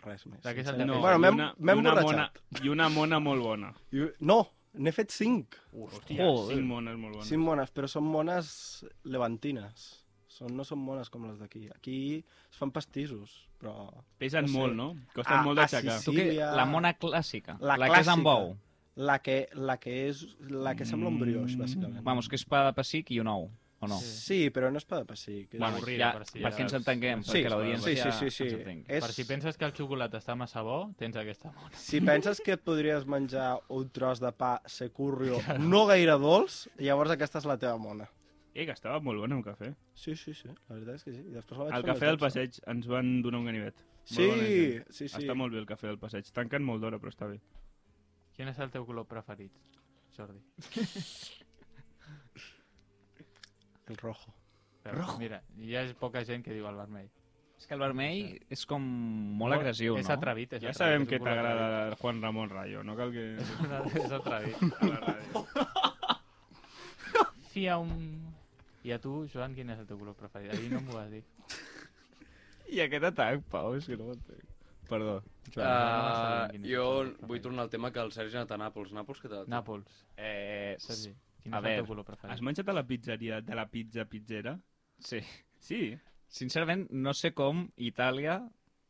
S5: Res més.
S6: De què és el
S5: sincerament.
S6: TFG?
S5: Bueno,
S3: i
S5: m'hem-
S3: una-
S5: m'hem
S3: i una mona,
S5: borratxat.
S3: I una mona molt bona.
S5: I- No, n'he fet cinc.
S6: Hòstia,
S2: Joder.
S3: Cinc mones molt bones.
S5: Cinc mones, però són mones levantines. Són, no són mones com les d'aquí. Aquí es fan pastissos, però...
S3: Pesen
S5: no sé.
S3: molt, no? Costen
S5: Ah,
S3: molt
S5: ah,
S3: d'aixecar.
S5: sí,
S2: Tu què?
S5: Síria-
S2: La mona clàssica.
S5: La
S2: la que és amb
S5: clàssica.
S2: bou. Mm,
S5: La que, la que és... La que sembla un brioix, bàsicament.
S2: Vamos, que és pa de pessic i un ou, o no?
S6: Sí.
S5: Sí, però no és pa de pessic. és-
S6: Bueno,
S2: Vamos,
S6: Avorrida,
S2: ja,
S6: per si
S2: perquè
S6: ja-
S2: ens entenguem,
S6: Sí,
S2: perquè
S6: sí,
S5: sí,
S2: l'audiència
S5: sí, sí, sí.
S2: ens entengui.
S5: És...
S6: Per si penses que el xocolata està massa bo, tens aquesta mona.
S5: Si penses que et podries menjar un tros de pa securrio no gaire dolç, llavors aquesta és la teva mona.
S3: Eh, que estava molt bona el cafè.
S5: Sí, sí, sí. La veritat és que sí. I després la vaig
S3: Al
S5: fer
S3: cafè
S5: més
S3: del
S5: dolça.
S3: passeig ens van donar un ganivet.
S5: Sí,
S3: Molt bona gent.
S5: sí, sí.
S3: Està molt bé el cafè del passeig. Tanquen molt d'hora, però està bé.
S6: Quin és el teu color preferit, Jordi?
S5: El rojo.
S6: Però, Mira, hi ha poca gent que diu el vermell.
S2: És que el vermell és com molt agressiu,
S6: És
S2: no?
S6: atrevit, és
S3: Ja
S6: atrevit,
S3: sabem
S6: és un
S3: que
S6: color
S3: t'agrada el Juan Ramon Rayo, no cal que...
S6: atrevit. és atrevit.
S3: a la ràdio.
S6: Fia un... I a tu, Joan, quin és el teu color preferit? Ahir no m'ho vas dir.
S2: I aquest atac, Pau, és que no m'entenc. Perdó.
S6: Joan, no vas
S4: Ah,
S6: saber quin és
S4: jo
S6: el teu color
S4: vull
S6: preferit.
S4: tornar al tema que el Sergi ha anat a Nàpols. Nàpols, què tal?
S6: Nàpols,
S2: Eh,
S6: Sergi. Quin
S2: a
S6: és el
S2: veure,
S6: teu color preferit?
S3: Has menjat a la pizzeria de la pizza pizzera?
S2: sí.
S3: Sí.
S2: Sincerament, no sé com Itàlia,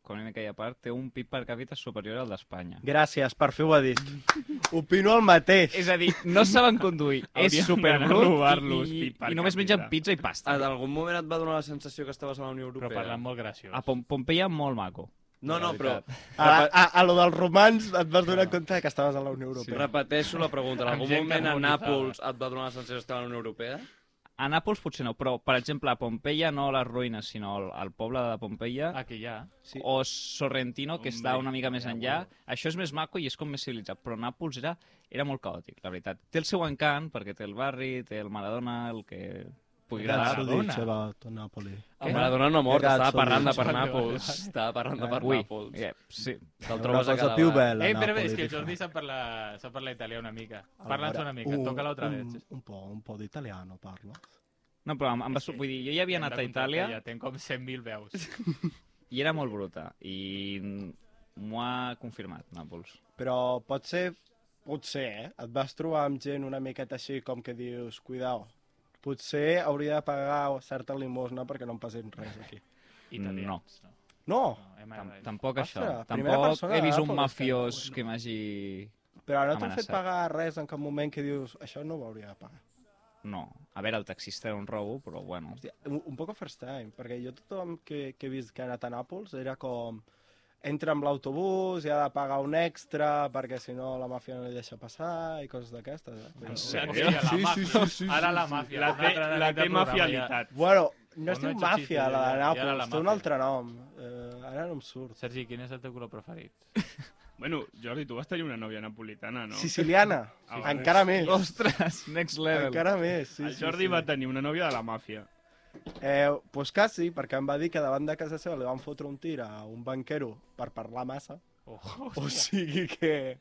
S2: com en aquella part, té un PIB per càpita superior al d'Espanya.
S5: Gràcies, per fer ho ha dit. Opino el mateix.
S2: És a dir, no saben conduir, és
S3: Hauríem d'anar a
S2: superbrut
S3: robar-los
S2: i,
S3: PIB per
S2: i només
S3: càpita.
S2: mengen pizza i pasta.
S4: Ah, d'algun moment et va donar la sensació que estaves a la Unió Europea?
S6: Però parlant molt graciós.
S2: A Pom Pompeia, molt maco.
S4: No, no,
S2: La
S4: però
S2: veritat.
S5: A, la, a, a lo dels romans et vas donar compte que estaves a la Unió Europea.
S4: repeteixo la pregunta. En
S6: Amb
S4: algun
S6: gent
S4: moment a
S6: carbonitzada.
S4: Nàpols et va donar la sensació d'estar a la Unió Europea?
S2: A Nàpols potser no, però, per exemple, a Pompeia, no les ruïnes, sinó el, el poble de Pompeia,
S6: Aquí ja.
S5: Sí.
S2: o Sorrentino, que
S3: Hombre,
S2: està una mica més
S3: vaya
S2: enllà.
S3: huevo.
S2: Això és més maco i és com més civilitzat, però Nàpols era, era molt caòtic, la veritat. Té el seu encant, perquè té el barri, té el Maradona, el que pugui agradar.
S6: Maradona.
S5: about Napoli.
S4: El Maradona no ha mort,
S5: Era
S4: estava
S5: Solís.
S4: parlant de per
S6: Vale, vale,
S4: Nàpols. Estava parlant de per
S2: Ui,
S4: Nàpols.
S2: eh, sí.
S4: Te'l
S5: Una
S4: trobes a
S5: cosa
S4: cada
S5: più
S4: bar.
S5: bella,
S6: Eh, però
S5: Napoli,
S6: bé, és que el
S5: dic.
S6: Jordi sap parlar, sap parlar italià una mica.
S5: Allora,
S6: Parla'ns una mica,
S5: un-
S6: toca-la otra
S5: un-
S6: vez.
S5: Un po', un po' d'italiano parlo.
S2: No, però em, em va... su- Vull dir, jo ja havia
S6: Hem de
S2: anat a
S6: contractar
S2: Itàlia
S6: Ja tenc com 100.000 veus.
S2: i era molt bruta, i m'ho ha confirmat, Nàpols.
S5: Però potser, potser, eh? Et vas trobar amb gent una miqueta així com que dius, cuidao, potser hauria de pagar certa limosna perquè no em passin res aquí.
S6: Italians, no.
S5: No,
S6: no hem
S2: Tam
S6: agraït.
S2: tampoc
S5: Ostres,
S2: això.
S5: primera
S2: Tampoc
S5: persona
S2: he vist
S5: de
S2: un
S5: Nàpols,
S2: mafiós que m'hagi...
S5: però no t'han fet
S2: Amenaçat.
S5: pagar res en cap moment que dius, això no ho hauria de pagar.
S2: No. A veure, el taxista era un robo, però bueno.
S5: Hòstia, un, un poc first time, perquè jo tothom que, que he vist que ha anat a Nàpols era com entra amb l'autobús i ha de pagar un extra perquè si no la màfia no li deixa passar i coses d'aquestes. Eh? Vull dir,
S2: sèrio?
S6: Hòstia, la
S5: Sí, sí,
S6: màfia.
S5: sí, sí, sí,
S6: Ara la
S5: sí.
S6: màfia.
S3: La
S6: Un
S3: té,
S6: altre
S3: la
S6: d'aquest
S3: té
S6: programa, ja.
S3: mafialitat.
S5: Bueno,
S6: no
S5: no es diu
S6: ets un
S5: màfia,
S6: xiste,
S5: la de
S6: ja, ja era la
S5: Nàpols, té un
S6: màfia.
S5: altre nom. Eh, ara no em surt.
S6: Sergi, quin és el teu color preferit?
S3: Bueno, Jordi, tu vas tenir una nòvia napolitana, no?
S5: Siciliana,
S3: Ah,
S5: encara més.
S2: Ostres, next level.
S5: Encara més, sí,
S3: el
S5: sí,
S3: Jordi
S5: sí.
S3: va tenir una nòvia de la màfia.
S5: Eh, pues quasi, perquè em va dir que davant de casa seva li van fotre un tir a un banquero per parlar massa.
S6: Oh,
S5: O sigui que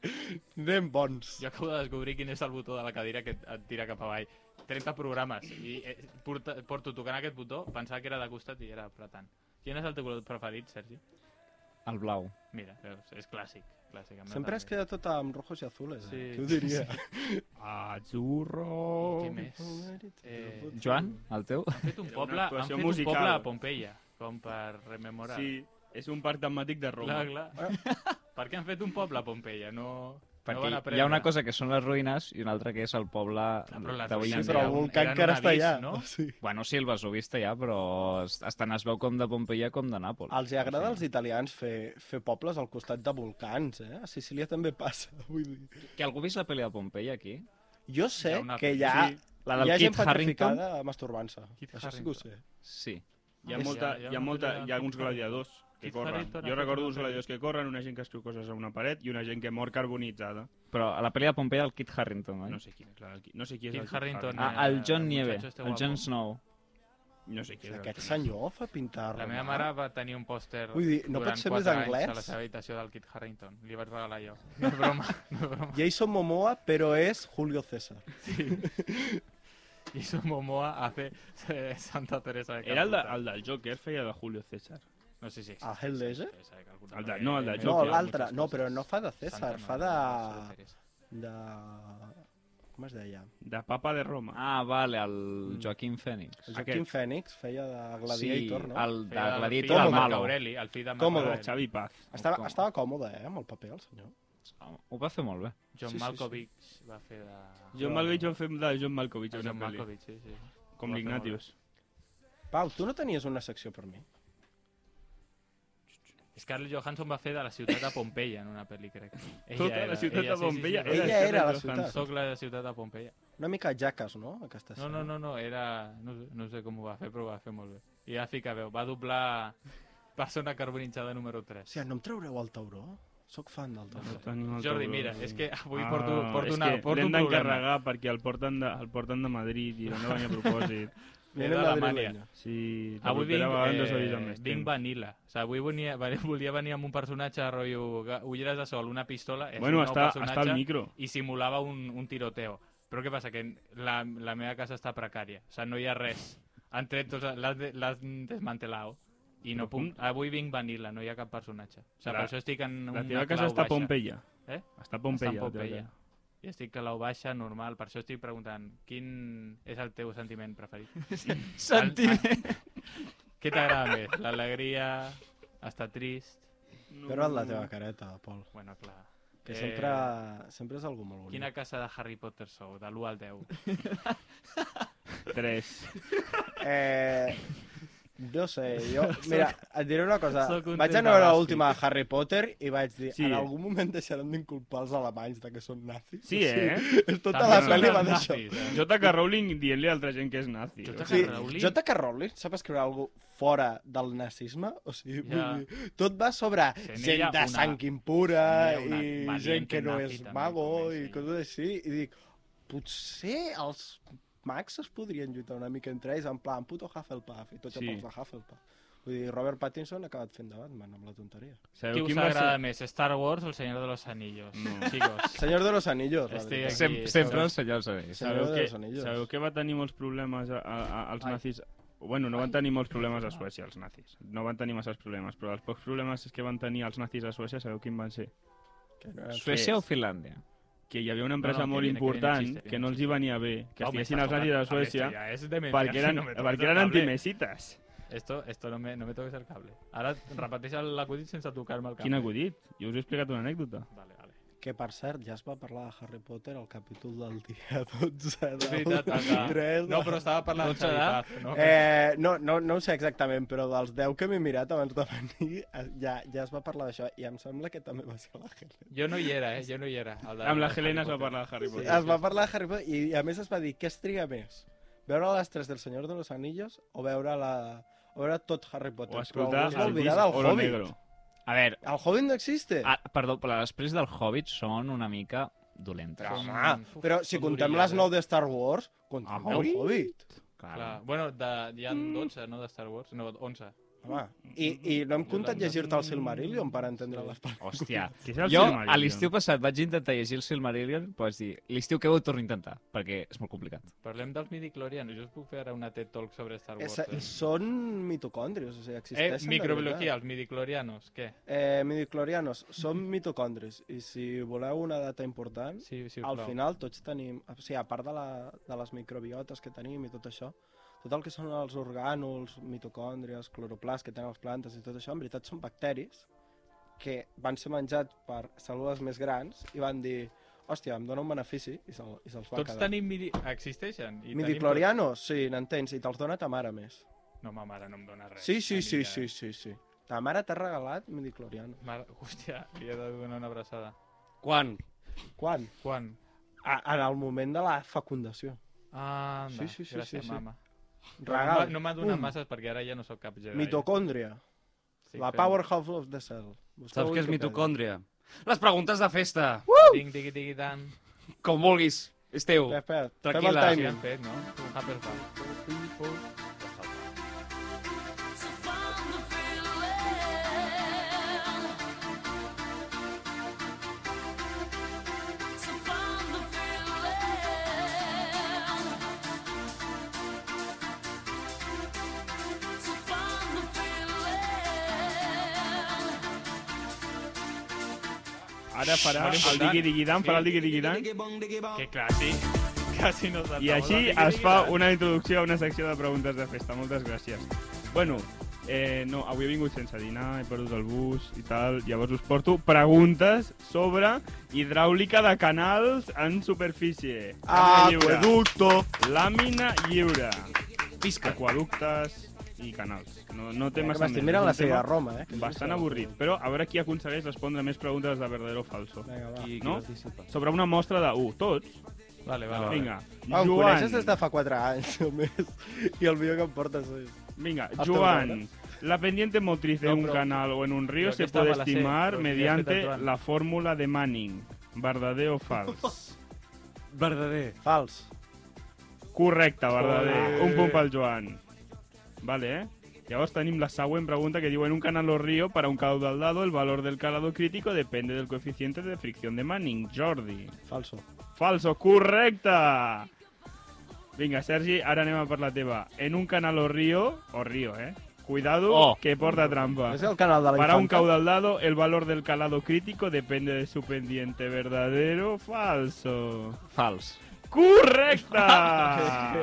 S5: anem bons.
S6: jo acabo de descobrir quin és el botó de la cadira que et, et tira cap avall. 30 programes. I eh, porta, porto tocant aquest botó, pensava que era de costat i era apretant. Quin és el teu color preferit, Sergi?
S2: El blau.
S6: Mira, veus, és clàssic. clàssic amb
S5: Sempre es
S6: Natalia.
S5: queda tot amb rojos i azules,
S6: eh.
S5: eh?
S6: Sí.
S5: Qui ho diria?
S3: Azurro...
S6: Què més? Eh,
S2: Joan, el teu?
S6: Han fet un
S3: Era una
S6: poble, han
S3: actuació
S6: fet
S3: musical.
S6: un poble a Pompeia, com per rememorar.
S3: Sí, és un parc temàtic de Roma.
S6: clar, clar.
S5: Ah.
S6: per què han fet un poble a Pompeia? No, no
S2: Perquè
S6: van
S2: hi
S6: aprendre.
S2: ha una cosa que són les ruïnes i una altra que és el poble
S6: Ah, però les
S2: d'avui
S5: Sí,
S2: en
S6: ruïnes
S5: però
S2: dia.
S5: el
S6: un-
S5: volcà
S6: era un
S5: encara està
S6: avís,
S5: allà.
S6: no?
S5: No? Sí.
S2: Bueno, sí, el Vesuvi està allà, però es- es- tant es veu com de Pompeia com de Nàpols.
S5: Els hi agrada
S2: O
S5: als
S2: sigui,
S5: italians fer, fer pobles al costat de volcans, eh? A Sicília també passa, vull dir.
S2: Que algú ha vist la pel·li de Pompeia aquí?
S5: Jo sé
S6: Hi ha una
S5: que hi ha,
S3: Sí,
S2: La del
S5: hi ha gent
S2: Kit Harington?
S5: petrificada masturbant-se.
S6: Kit
S5: Això sí que ho
S6: Harington.
S5: sé.
S2: Sí.
S3: Hi ha, molta, hi ha, molta, hi ha uns gladiadors que
S6: Kit
S3: corren.
S6: Harington ha
S3: Jo
S6: fet
S3: recordo
S6: una
S3: uns gladiadors que corren, una gent que es treu coses a una paret i una gent que mor carbonitzada.
S2: Però a la pel·li de Pompeia el Kit Harington, oi?
S3: No sé quin és, la, no sé qui és
S6: Kit
S3: el
S6: Harington.
S2: Ah, el John
S6: El
S2: Nieve,
S6: muchacho este
S2: el John
S6: guapo.
S2: Snow.
S3: No sé qui és. el
S5: Aquest
S3: John.
S5: senyor fa pintar...
S6: La meva mare va tenir un pòster
S5: Vull dir, no pot
S6: durant
S5: ser més
S6: 4 anys
S5: anglès?
S6: a la seva habitació del Kit Harington. Li vaig regalar jo. No és broma, no és broma.
S5: Jason Momoa, però és Julio César.
S6: I su Momoa hace eh, Santa Teresa de Calcuta.
S3: Era el, de, el del Joker, feia de Julio César.
S6: No sé si existe.
S5: Ah, Heath Ledger?
S6: Teresa de Calcuta.
S3: El de- no, el de
S6: Eh,
S5: No,
S3: Joker,
S5: l'altre.
S6: muchas
S5: No,
S6: cosas.
S5: però no fa de
S6: Santa
S5: César,
S6: no,
S5: fa
S6: no, Santa
S5: de...
S6: Teresa.
S5: de... Com es deia?
S3: De Papa de Roma.
S2: Ah, vale, el
S6: Mm.
S2: Joaquin Phoenix.
S5: El Joaquin Phoenix feia de Gladiator,
S2: sí,
S5: no?
S2: el de
S6: Feia del
S2: Gladiator,
S6: fill de
S2: el
S6: Marc
S2: malo.
S6: Aureli, el fill de Marc
S5: Cómodo.
S3: El de
S6: Aureli.
S3: Xavi Paz.
S5: Estava,
S2: Com?
S5: estava còmode, eh, amb el paper, el senyor.
S2: Ho va fer molt bé.
S6: John
S5: Sí, sí, sí.
S6: Malkovich va fer de...
S3: John Malkovich va fer de John Malkovich,
S6: de
S3: una
S6: John
S3: pel·li.
S6: Malkovich, sí, sí.
S3: Com
S6: Va fer
S3: l'Ignatius.
S5: Pau, tu no tenies una secció per mi?
S6: Scarlett Johansson va fer de la ciutat de Pompeia en una pel·li, crec. Ella
S3: Tota la
S6: era-
S3: ciutat
S6: ella-
S3: de
S6: sí, sí, sí,
S3: Pompeia.
S6: sí, sí.
S5: Ella era la
S3: Scarlett
S5: ciutat.
S3: Johansson.
S6: Soc la ciutat de Pompeia.
S5: Una mica jaques, no? Aquesta
S6: No, no, no, no, era... No, sé- no sé com ho va fer, però ho va fer molt bé. I ja fica veu, va doblar persona carbonitzada número 3.
S5: Hòstia, no em traureu el tauró? Soc fan del tauró.
S3: No tenim el
S6: Jordi,
S3: tauró.
S6: mira, és que avui
S3: Ah,
S6: porto, porto,
S3: és
S6: una,
S3: que
S6: porto
S3: l'hem
S6: un problema.
S3: d'encarregar perquè el porten de, el porten de Madrid i no venia a propòsit.
S6: Era d'Alemanya.
S5: madrileño.
S3: Sí, la
S6: Avui vinc,
S3: propera vegada ens avisa amb
S6: eh,
S3: més
S6: vinc
S3: temps.
S6: vanilla. O sigui, avui venia, volia venir amb un personatge de rotllo ga- ulleres de sol, una pistola, és
S3: Bueno,
S6: un nou
S3: està, està
S6: personatge,
S3: al micro.
S6: i simulava un, un tiroteo. Però què passa? Que la, la meva casa està precària. O sigui, no hi ha res. Han tret tots... L'has de, l'has desmantelat. I
S3: Però
S6: no puc...
S3: com-
S6: Avui vinc vanilla, no hi ha cap personatge. O
S3: La-
S6: sigui, per això estic en
S3: La
S6: una
S3: teva casa
S6: clau
S3: està a
S6: baixa.
S3: Pompeia.
S6: Eh?
S3: Està a Pompeia.
S6: Està en
S3: la teva
S6: Pompeia.
S3: casa.
S6: I estic a la baixa, normal. Per això estic preguntant quin és el teu sentiment preferit. Sentiment. Què t'agrada més? L'alegria? Estar trist?
S5: Però en la teva careta, Pol.
S6: Bueno, clar.
S5: Que
S6: Eh,
S5: sempre, sempre és algú molt bonic.
S6: Quina casa de Harry Potter sou? De l'1 al 10.
S3: Tres.
S5: Eh, no sé, jo... Mira, et diré una cosa.
S6: Soc un
S5: Vaig
S6: test de
S5: anar a veure
S6: Buzzfeed.
S5: l'última de Harry Potter i vaig dir,
S3: Sí.
S5: en algun moment deixaran d'inculpar els alemanys de que són nazis.
S3: Sí, eh?
S5: És tota
S6: També
S5: la
S6: són
S5: pel·li
S6: els
S5: va d'això.
S6: nazis, eh?
S3: J.K. Rowling dient-li a altra gent que és nazi.
S6: J.K.
S5: Sí,
S6: Rowling?
S5: J.K. Rowling sap escriure alguna fora del nazisme? O sigui,
S6: Ja.
S5: vull dir, tot va sobre
S6: Se n'hi
S5: gent
S6: ha
S5: de
S6: una-
S5: sang impura
S6: se n'hi ha una
S5: i
S6: valiente
S5: gent que no
S6: nazi
S5: és
S6: també,
S5: mago
S6: com és,
S5: i
S6: sí.
S5: coses així. I dic, potser els mags es podrien lluitar una mica entre ells, en plan, puto Hufflepuff, i tots
S3: Sí.
S5: sí. els de Hufflepuff. Vull dir, Robert Pattinson ha acabat fent de Batman amb la tonteria.
S6: Qui
S3: Sabeu
S6: us
S3: quin va
S6: agrada
S3: ser?
S6: més, Star Wars o El Señor de los Anillos?
S3: No.
S6: Chicos,
S5: Senyor de los Anillos, la
S6: Este
S5: veritat.
S6: aquí.
S2: Sem
S6: Sí,
S2: sempre
S6: sí.
S2: els senyors a ells.
S5: Senyor
S3: Sabeu
S5: de
S3: que,
S5: los Anillos.
S3: sabeu que va tenir molts problemes a, a, a, als
S6: Ai.
S3: nazis? Bueno, no van tenir molts problemes a Suècia, els nazis. No van tenir masses problemes, però els pocs problemes que van tenir els nazis a Suècia, sabeu quin van ser?
S5: Que no era...
S2: Suècia o Finlàndia?
S3: Que hi havia una empresa
S6: no, que
S3: molt
S6: viene- que viene
S3: important
S6: chiste, viene
S3: que no els hi venia bé, que
S6: Home,
S3: estiguessin
S6: estàs
S3: els nazis a
S6: tocant-
S3: Suècia,
S6: Esto ya es de
S3: perquè
S6: mentira,
S3: eren,
S6: no me toques
S3: perquè
S6: el
S3: eren
S6: cable.
S3: antimesites.
S6: Esto, esto no me, no me toques el cable. Ara repeteix l'acudit sense tocar-me el cable.
S3: Quin acudit? Jo us he explicat una anècdota.
S6: Vale, vale.
S5: Que, per cert, ja es va parlar de Harry Potter al capítol del dia 12 de
S6: És veritat, Tata. No, però estava parlant de Harry Potter. No?
S5: Eh, no, no, no ho sé exactament, però dels 10 que m'he mirat abans de venir, eh, ja, ja es va parlar d'això, i em sembla que també va ser la Helena.
S6: Jo no hi era, eh? Jo no hi era. El de-
S3: Amb Ah, la
S6: el de
S3: Helena es
S6: Harry
S3: va
S6: Potter.
S3: parlar de Harry Potter.
S5: es va parlar de Harry Potter, i a més es va dir, què es triga més? Veure les tres del Senyor de los Anillos o veure, la, o veure tot Harry Potter?
S3: O escoltar
S5: però algú es va
S3: el
S5: oblidar
S3: disc
S5: del
S3: Oro
S5: Hobbit.
S3: Negro.
S2: A veure,
S5: El Hobbit no existe.
S2: ah, perdó, però les preses del Hobbit són una mica dolentes.
S6: Però,
S5: Ah,
S6: uf,
S5: però si
S6: són
S5: contem
S6: duries,
S5: les
S6: eh?
S5: 9 de Star Wars, contem
S2: Ah,
S5: el Hobbit.
S6: Clar. Bueno, de, hi ha 12, no, de Star Wars? No, 11.
S5: Home, i,
S3: Mm,
S5: i no hem comptat llegir-te el Silmarillion per entendre les paraules.
S2: Hòstia.
S3: Què és el
S2: Jo,
S3: Silmarillion?
S2: a l'estiu passat, vaig intentar llegir el Silmarillion, però vaig dir, l'estiu que ve ho torno a intentar, perquè és molt complicat.
S6: Parlem dels midiclorians. Jo us puc fer ara una TED Talk sobre Star Wars.
S5: És,
S3: eh.
S5: són mitocondrios, o sigui,
S6: eh? eh,
S5: existeixen. de
S6: microbiologia, els midiclorianos, què?
S5: veritat. Eh, midiclorianos, són mitocondris, i si voleu una data important,
S6: Sí, sí,
S5: al final tots tenim, o sigui, a part de, la, de les microbiotes que tenim i tot això, tot el que són els orgànuls, mitocòndries, cloroplast que tenen les plantes i tot això, en veritat són bacteris que van ser menjats per cèl·lules més grans i van dir, hòstia, em dóna un benefici i se'ls se i se'ls va
S6: Tots
S5: quedar.
S6: tenim midi... Existeixen? I
S5: Midiclorianos, sí, n'entens, i te'ls dona ta mare més.
S6: Tenim... No, ma mare no em dona res.
S5: Sí, sí,
S6: Una
S5: sí,
S6: mica.
S5: sí, sí, sí. Ta mare t'ha regalat midicloriano.
S6: Mare... Hòstia, li he de donar una abraçada.
S4: Quan?
S5: Quan?
S6: Quan?
S5: A, en el moment de la fecundació.
S6: Ah, anda,
S5: Sí, sí, sí,
S6: gràcies,
S5: sí, sí.
S6: mama. Però no
S5: Regal. Mm.
S6: m'ha- No m'ha donat
S5: Pum.
S6: masses perquè ara ja no sóc cap Jedi.
S5: Mitocòndria.
S6: Estic
S5: la
S6: fent-
S5: powerhouse of the cell. Busqueu
S4: Saps què és
S5: Wikipedia.
S4: mitocòndria? Les preguntes de festa!
S6: Ding, digui, digui, tant.
S4: Com vulguis. És teu.
S5: Espera, espera, fem el
S4: Tranquil·la,
S6: Sí,
S5: timing.
S6: han fet, no? Ah, perfecte.
S3: Ara farà
S6: Molt
S3: el
S6: important.
S3: digui-digui-dan, farà el digui-digui-dan,
S6: Que clàssic. Quasi no s'ha
S3: I així es fa una introducció a una secció de preguntes de festa. Moltes gràcies. Bueno, eh, no, avui he vingut sense dinar, he perdut el bus i tal, llavors us porto preguntes sobre hidràulica de canals en superfície.
S5: Ah,
S3: Làmina lliure.
S5: Aqueducto.
S3: Làmina lliure. Pisca. Aquaductes i canals. No, no té massa
S5: M'estic
S3: més.
S5: mirant
S3: És
S5: la
S3: un
S5: sèrie
S3: tema
S5: de Roma, eh?
S3: Bastant avorrit, però a veure qui aconsegueix respondre més preguntes de verdadero o falso.
S5: Vinga, va.
S4: Qui, qui
S3: No?
S4: participa?
S3: Sobre una mostra de 1, tots.
S6: Vale, vale. vale.
S3: Vinga,
S5: Ah, em coneixes des
S3: Joan.
S5: de fa 4 anys, només. I el vídeo que em portes és...
S3: Venga,
S5: Hasta ahora.
S3: Joan, la pendiente motriz de
S6: No,
S3: un
S6: pero-
S3: canal o en un río
S6: pero que
S3: se
S6: esta
S3: puede
S6: me la sé,
S3: estimar
S6: pero que ya
S3: mediante
S6: está Joan.
S3: la fórmula de Manning. ¿Verdadero o falso?
S4: Verdader.
S5: Fals.
S3: Correcta, verdadero.
S6: Joder.
S3: Un punt pel Joan. Vale, eh? Llavors tenim la següent pregunta que digo en un canal o río, para un caudal dado, el valor del calado crítico depende del coeficiente de fricción de Manning. Jordi.
S5: Falso.
S3: Falso, correcta! Vinga, Sergi, ara anem a per la teva. En un canal o río, o río, eh? Cuidado,
S2: Oh.
S3: que porta trampa.
S5: És el canal de la
S3: Para un
S5: infanta?
S3: caudal dado, el valor del calado crítico depende de su pendiente. ¿Verdadero o falso?
S2: Fals.
S3: ¡Correcta!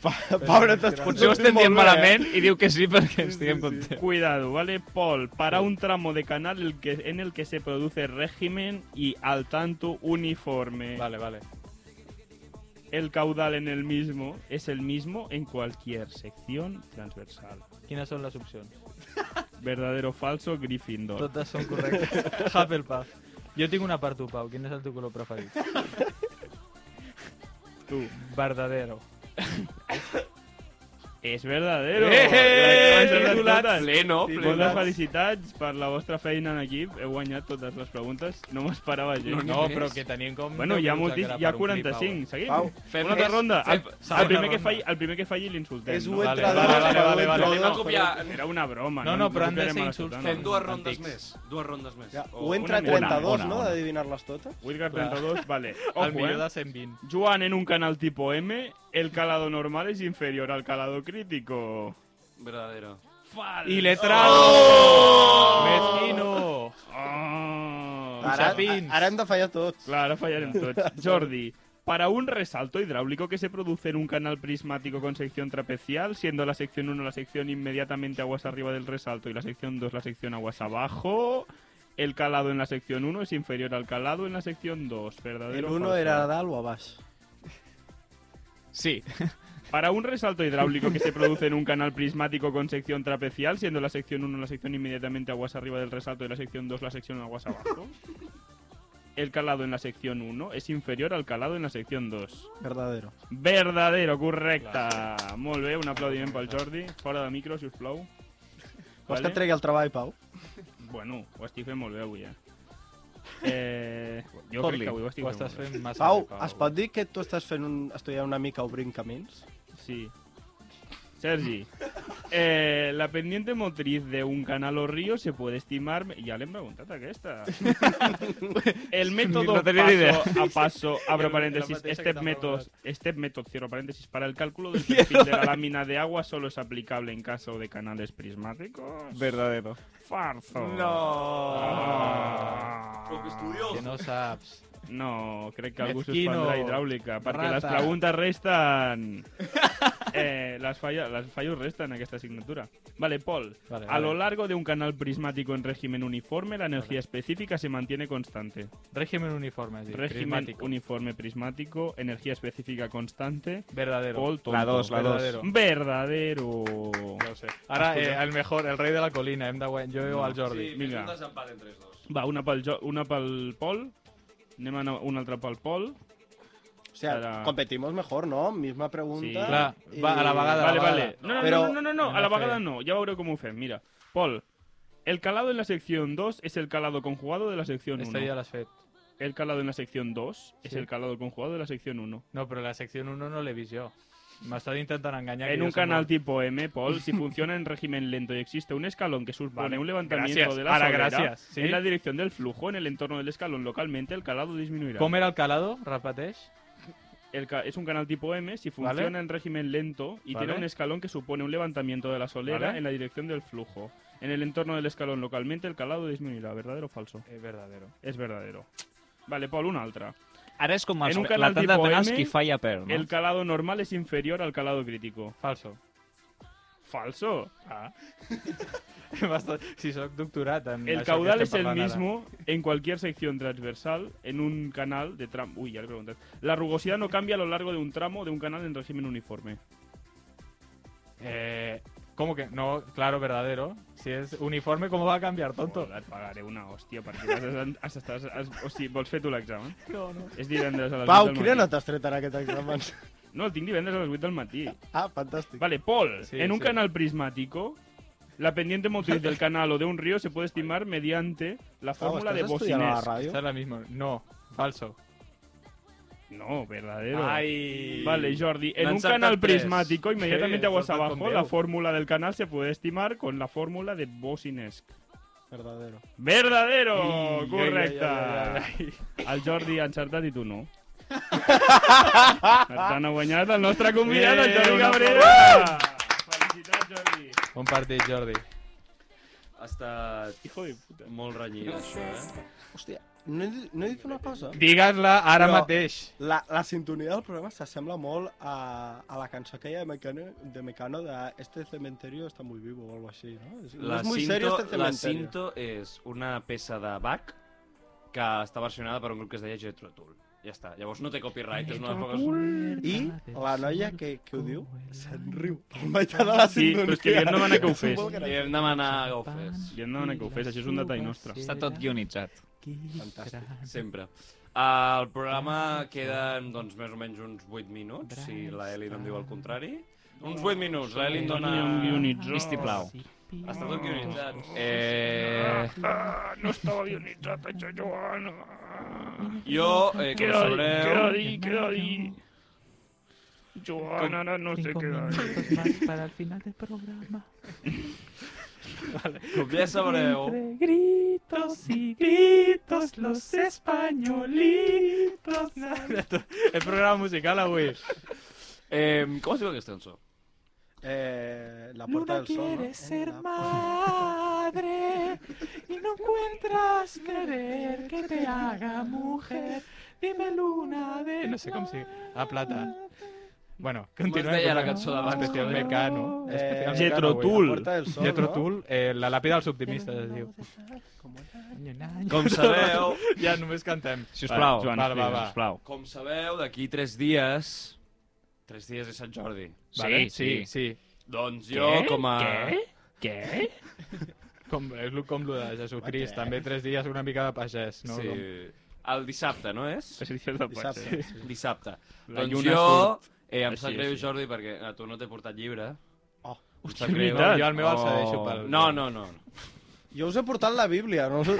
S5: Pa- Pobre, t'has
S2: Potser ho estem dient malament i diu que sí perquè estiguem contents.
S3: Cuidado, ¿vale? Paul, para un tramo de canal el que- en el que se produce régimen y al tanto uniforme.
S6: Vale, vale.
S3: El caudal en el mismo es el mismo en cualquier sección transversal.
S6: Quines són les opcions?
S3: ¿Verdadero o falso, Gryffindor?
S6: Totes són correctes. Hufflepuff. Jo tinc una per tu, Pau. Quin és el teu color preferit?
S3: Tú.
S6: Verdadero.
S3: És verdadero!
S4: Eh, eh,
S3: La que m'ha
S4: titulat
S3: encertat.
S4: pleno,
S3: Sí,
S4: pleno.
S3: moltes Pues felicitats per la vostra feina en equip. Heu guanyat totes les preguntes. No m'esperava gens.
S6: No, però que tenien com...
S3: Bueno, hi ha, moltis, hi ha 45. Seguim.
S5: Pau,
S4: Fem
S3: Una altra
S4: més.
S3: ronda.
S4: Fem-
S3: El, el, primer que
S6: ronda.
S3: falli, el primer que falli l'insultem.
S5: És
S3: No?
S5: un
S6: Vale,
S5: entre
S6: vale,
S5: dos,
S6: vale,
S5: però
S6: vale,
S5: un
S6: vale.
S4: Anem
S5: entre
S4: a
S5: dos,
S4: copiar.
S3: Era una broma.
S6: No, no, però han de
S3: copiarem a
S6: ser
S3: la
S6: insults.
S3: sotana.
S4: Fem dues rondes
S6: Antics.
S4: més. Dues rondes més.
S5: Ja,
S4: O
S5: o entra
S3: una mica.
S5: 32,
S2: Una,
S5: no?,
S2: una.
S5: d'adivinar-les totes.
S3: Whitgar 32, vale.
S6: Ojo, el
S3: Ojo,
S6: millor
S3: eh?
S6: de 120.
S3: Joan en un canal tipo M, el calado normal es inferior al calado crítico.
S4: Verdadero.
S3: Falso.
S6: I letrado! Oh. Mezquino!
S3: Oh.
S5: Ara,
S6: sapins.
S5: ara hem de fallar tots.
S3: Claro, fallarem tots. Jordi, para un resalto hidráulico que se produce en un canal prismático con sección trapecial, siendo la sección 1 la sección inmediatamente aguas arriba del resalto y la sección 2 la sección aguas abajo, el calado en la sección 1 es inferior al calado en la sección 2. Verdadero
S5: El
S3: o
S5: 1
S3: falso?
S5: era a dalt o a baix.
S2: Sí,
S3: Para un resalto hidráulico que se produce en un canal prismático con sección trapecial, siendo la sección 1 la sección inmediatamente aguas arriba del resalto y la sección 2 la sección aguas abajo, el calado en la sección 1 es inferior al calado en la sección 2.
S5: Verdadero.
S3: Verdadero, correcta. Molt bé, un aplaudiment pel Jordi. Fora de micro, si us plau.
S5: Vols que et tregui el treball, Pau?
S3: Bueno, ho estic fent molt bé avui, eh? eh jo crec
S2: Fot-li.
S3: que avui ho estic
S6: Ho
S3: fent
S6: estàs
S3: molt
S6: fent massa
S5: Pau,
S6: bé, Pau.
S5: es pot dir que tu estàs fent un... estudiant una mica obrint camins?
S3: bé. Sí. Sergi, eh, la pendiente motriz de un canal o río se puede estimar... Ja l'hem preguntat, aquesta. El método
S6: No tenia ni idea.
S3: paso a paso, abro
S4: El- la
S3: paréntesis,
S4: mateixa que
S3: step
S4: t'ha
S3: method, step method, cierro paréntesis, para el cálculo del
S2: Mierda.
S3: perfil de la lámina de agua solo es aplicable en caso de canales prismáticos.
S2: verdadero.
S3: Farzo.
S6: No.
S3: Ah.
S6: Que no saps.
S3: No, crec que algú
S6: Mezquino.
S3: suspendrà hidràulica, perquè
S6: Rata.
S3: les preguntes resten... Eh, les, falla, les fallos resten en aquesta assignatura. Vale, Paul.
S6: Vale,
S3: A lo
S6: vale.
S3: largo de un canal prismático en régimen uniforme, la energía específica se mantiene constante.
S6: Régimen uniforme, sí.
S3: régimen
S6: prismático.
S3: uniforme prismático, energía específica constante.
S6: Verdadero.
S3: Paul, tonto.
S2: La dos, la dos.
S6: Verdadero.
S3: Verdadero.
S6: Ja ho sé. Ara, eh,
S3: Escolta.
S6: el mejor, el rei de la colina. Hem de guanyar. Jo veo al Jordi.
S4: Sí,
S3: vinga.
S4: vinga. un desempat entre els dos.
S3: Va, una pel, jo, una pel Paul. Anem a una altra pel Paul.
S5: O sea,
S3: Ara-
S5: competimos mejor, no? Misma pregunta.
S3: Sí.
S6: Clar, va, a la vegada.
S3: Vale,
S6: a la
S3: vale.
S6: vegada.
S3: No, no,
S5: Però-
S3: no, no, no, no,
S6: Anem
S3: a la
S6: a fer-
S3: vegada no. Ja veureu com ho fem. Mira, Pol, el calado en la sección 2 es el calado conjugado de la sección
S6: Este
S3: 1.
S6: ya l'has fet.
S3: El calado en la sección 2 es
S6: Sí.
S3: el calado conjugado de la sección 1.
S6: No, però la secció 1 no l'he vist jo. M'està intentant enganyar. que
S3: En
S6: jo
S3: un
S6: soc
S3: canal
S6: molt-
S3: tipo M, Paul, si funciona en régimen lento y existe un escalón que supone
S6: Vale,
S3: un levantamiento
S6: gracias.
S3: de la
S6: Ahora,
S3: solera
S6: gracias, ¿sí?
S3: en la dirección del flujo en el entorno del escalón localmente, el calado disminuirá.
S6: Com era el calado? Repeteix.
S3: El ca- es un canal tipo M si
S6: Vale.
S3: funciona en régimen lento y
S6: Vale.
S3: tiene un escalón que supone un levantamiento de la solera
S6: Vale.
S3: en la dirección del flujo. En el entorno del escalón localmente el calado disminuirá, ¿verdadero o falso?
S6: És verdadero.
S3: Es verdadero. Vale, Paul, una altra.
S2: Ara és com els,
S3: En un
S2: la
S3: canal
S2: tanda de
S3: tipo
S2: penals
S3: M,
S2: qui falla perd, no?
S3: El calado normal es inferior al calado crítico.
S6: Falso.
S3: Falso.
S6: Ah. Basta- si sóc doctorat en
S3: El
S6: això que
S3: caudal es
S6: estem
S3: el
S6: parlant ara.
S3: mismo en cualquier sección transversal en un canal de tramo. Uy, ya le pregunté. La rugosidad no cambia a lo largo de un tramo de un canal en régimen uniforme.
S6: Eh, ¿Cómo que? No, claro, verdadero. Si es uniforme, ¿cómo va a cambiar, tonto?
S3: Joder, et pagaré una hòstia perquè has, has, has, has, has, o sigui, vols fer tu l'examen?
S6: No, no.
S3: És divendres a les
S5: Pau,
S3: 8 del
S5: quina
S3: matí.
S5: nota has tret en aquest examen?
S3: No, el tinc divendres a les 8 del matí.
S5: ah, fantàstic.
S3: Vale, Paul,
S6: Sí,
S3: en un
S6: sí.
S3: canal prismático, la pendiente motriz del canal o de un río se puede estimar mediante la
S5: Pau,
S3: fórmula de
S5: estàs estudiant a la
S3: Bosinés.
S5: ràdio?
S6: Esta es la misma. No, falso.
S3: No, verdadero.
S6: Ay.
S3: Vale, Jordi, en
S6: No
S3: un
S6: encertat
S3: canal
S6: tres.
S3: prismático, inmediatamente
S6: Sí,
S3: aguas
S6: encertat
S3: abajo,
S6: con
S3: la
S6: Déu.
S3: fórmula del canal se puede estimar con la fórmula de Bosinesc.
S5: Verdadero.
S3: Verdadero,
S6: Ei,
S3: correcta.
S6: ai,
S3: El Jordi ha encertat i tu no. per tant, ha guanyat el nostre convidat, el
S6: Eh,
S3: Jordi
S6: un
S3: Cabrera. Felicitats, Jordi.
S6: Un partido, Jordi.
S4: Ha estat
S3: Hijo de puta.
S4: molt renyit, això, eh?
S5: Hòstia, no he, dit- no he dit una cosa?
S6: Dígasla ahora
S5: Però-
S6: mateix.
S5: La, la sintonia del programa s'assembla molt a, a la cançó aquella de Mecano, de, Mecano de Este cementerio está muy vivo o algo així, no? És, no
S4: La,
S5: és muy serio
S4: cinto,
S5: este
S4: la
S5: cementerio.
S4: cinto és una peça de Bach que està versionada per un grup que es deia Jethro Tull. Ja està. Llavors no té copyright, és una de les poques...
S5: I la noia que, que ho diu se'n riu. Al meitat de la
S3: Sí,
S5: sintonia.
S3: però és que li hem demanat que ho fes.
S5: molt
S4: Li
S5: graciós.
S4: hem demanat que ho fes.
S3: Li hem demanat que ho fes, això és un detall nostre.
S2: Està tot guionitzat.
S5: Fantàstic.
S4: Sempre. El programa queden doncs, més o menys uns 8 minuts, si la Eli no em diu el contrari. Uns 8 minuts, la Eli em dona...
S3: Ni un guionitzó.
S2: Vistiplau.
S4: Ha estat un guionitzat. Eh,
S3: Ah, no estava guionitzat, això, Joan.
S4: jo, eh,
S3: Queda dir,
S4: com
S3: queda
S4: sabreu...
S3: dir, queda dir. Joan, ara no sé què dir.
S7: más para el final del programa.
S4: Com ja sabreu...
S7: Entre gritos y gritos, los españolitos.
S6: El programa musical avui.
S4: Eh, com es diu aquesta cançó?
S5: Eh, la puerta
S7: Luna
S5: del sol.
S7: quiere
S5: eh?
S7: ser
S5: La-
S7: madre y no encuentras querer que te haga mujer. Dime luna de
S6: No sé cómo sigue. Ah, plata. Bueno,
S4: Com es
S6: continuem.
S4: deia la
S6: perquè-
S4: cançó d'abans?
S6: Especial
S4: joder?
S6: Mecano.
S5: Eh,
S3: Jethro
S5: Mecano,
S3: Tull.
S5: La Puerta del Sol,
S6: Jethro
S5: no?
S6: Tull, eh, la làpida dels optimistes es diu.
S4: Com sabeu,
S6: Ja només cantem.
S2: Sisplau,
S3: Va, Joan,
S6: va,
S3: explica,
S6: va, va.
S3: sisplau.
S4: com sabeu, d'aquí tres dies... Tres dies és Sant Jordi.
S6: Vale?
S2: sí.
S6: sí, sí.
S4: Doncs jo, com a...
S7: Què? Què?
S6: Com, és lo- com lo de Jesucrist,
S5: What the-
S6: també tres dies una mica de pagès. No?
S4: No, sí.
S6: Com-
S4: El dissabte, no és?
S3: Tres dies de
S5: Dissabte.
S3: potser.
S4: Dissabte.
S3: La
S4: doncs
S3: lluna
S4: jo...
S3: surt.
S4: Eh, em
S3: Així,
S4: sap greu,
S3: així.
S4: Jordi, perquè a tu no t'he portat llibre.
S5: Oh,
S4: Em sap
S3: és
S4: greu.
S3: veritat.
S6: Jo el meu el
S2: Oh.
S6: cedeixo pel...
S4: No, no, no.
S5: Jo us he portat la Bíblia. No, us he-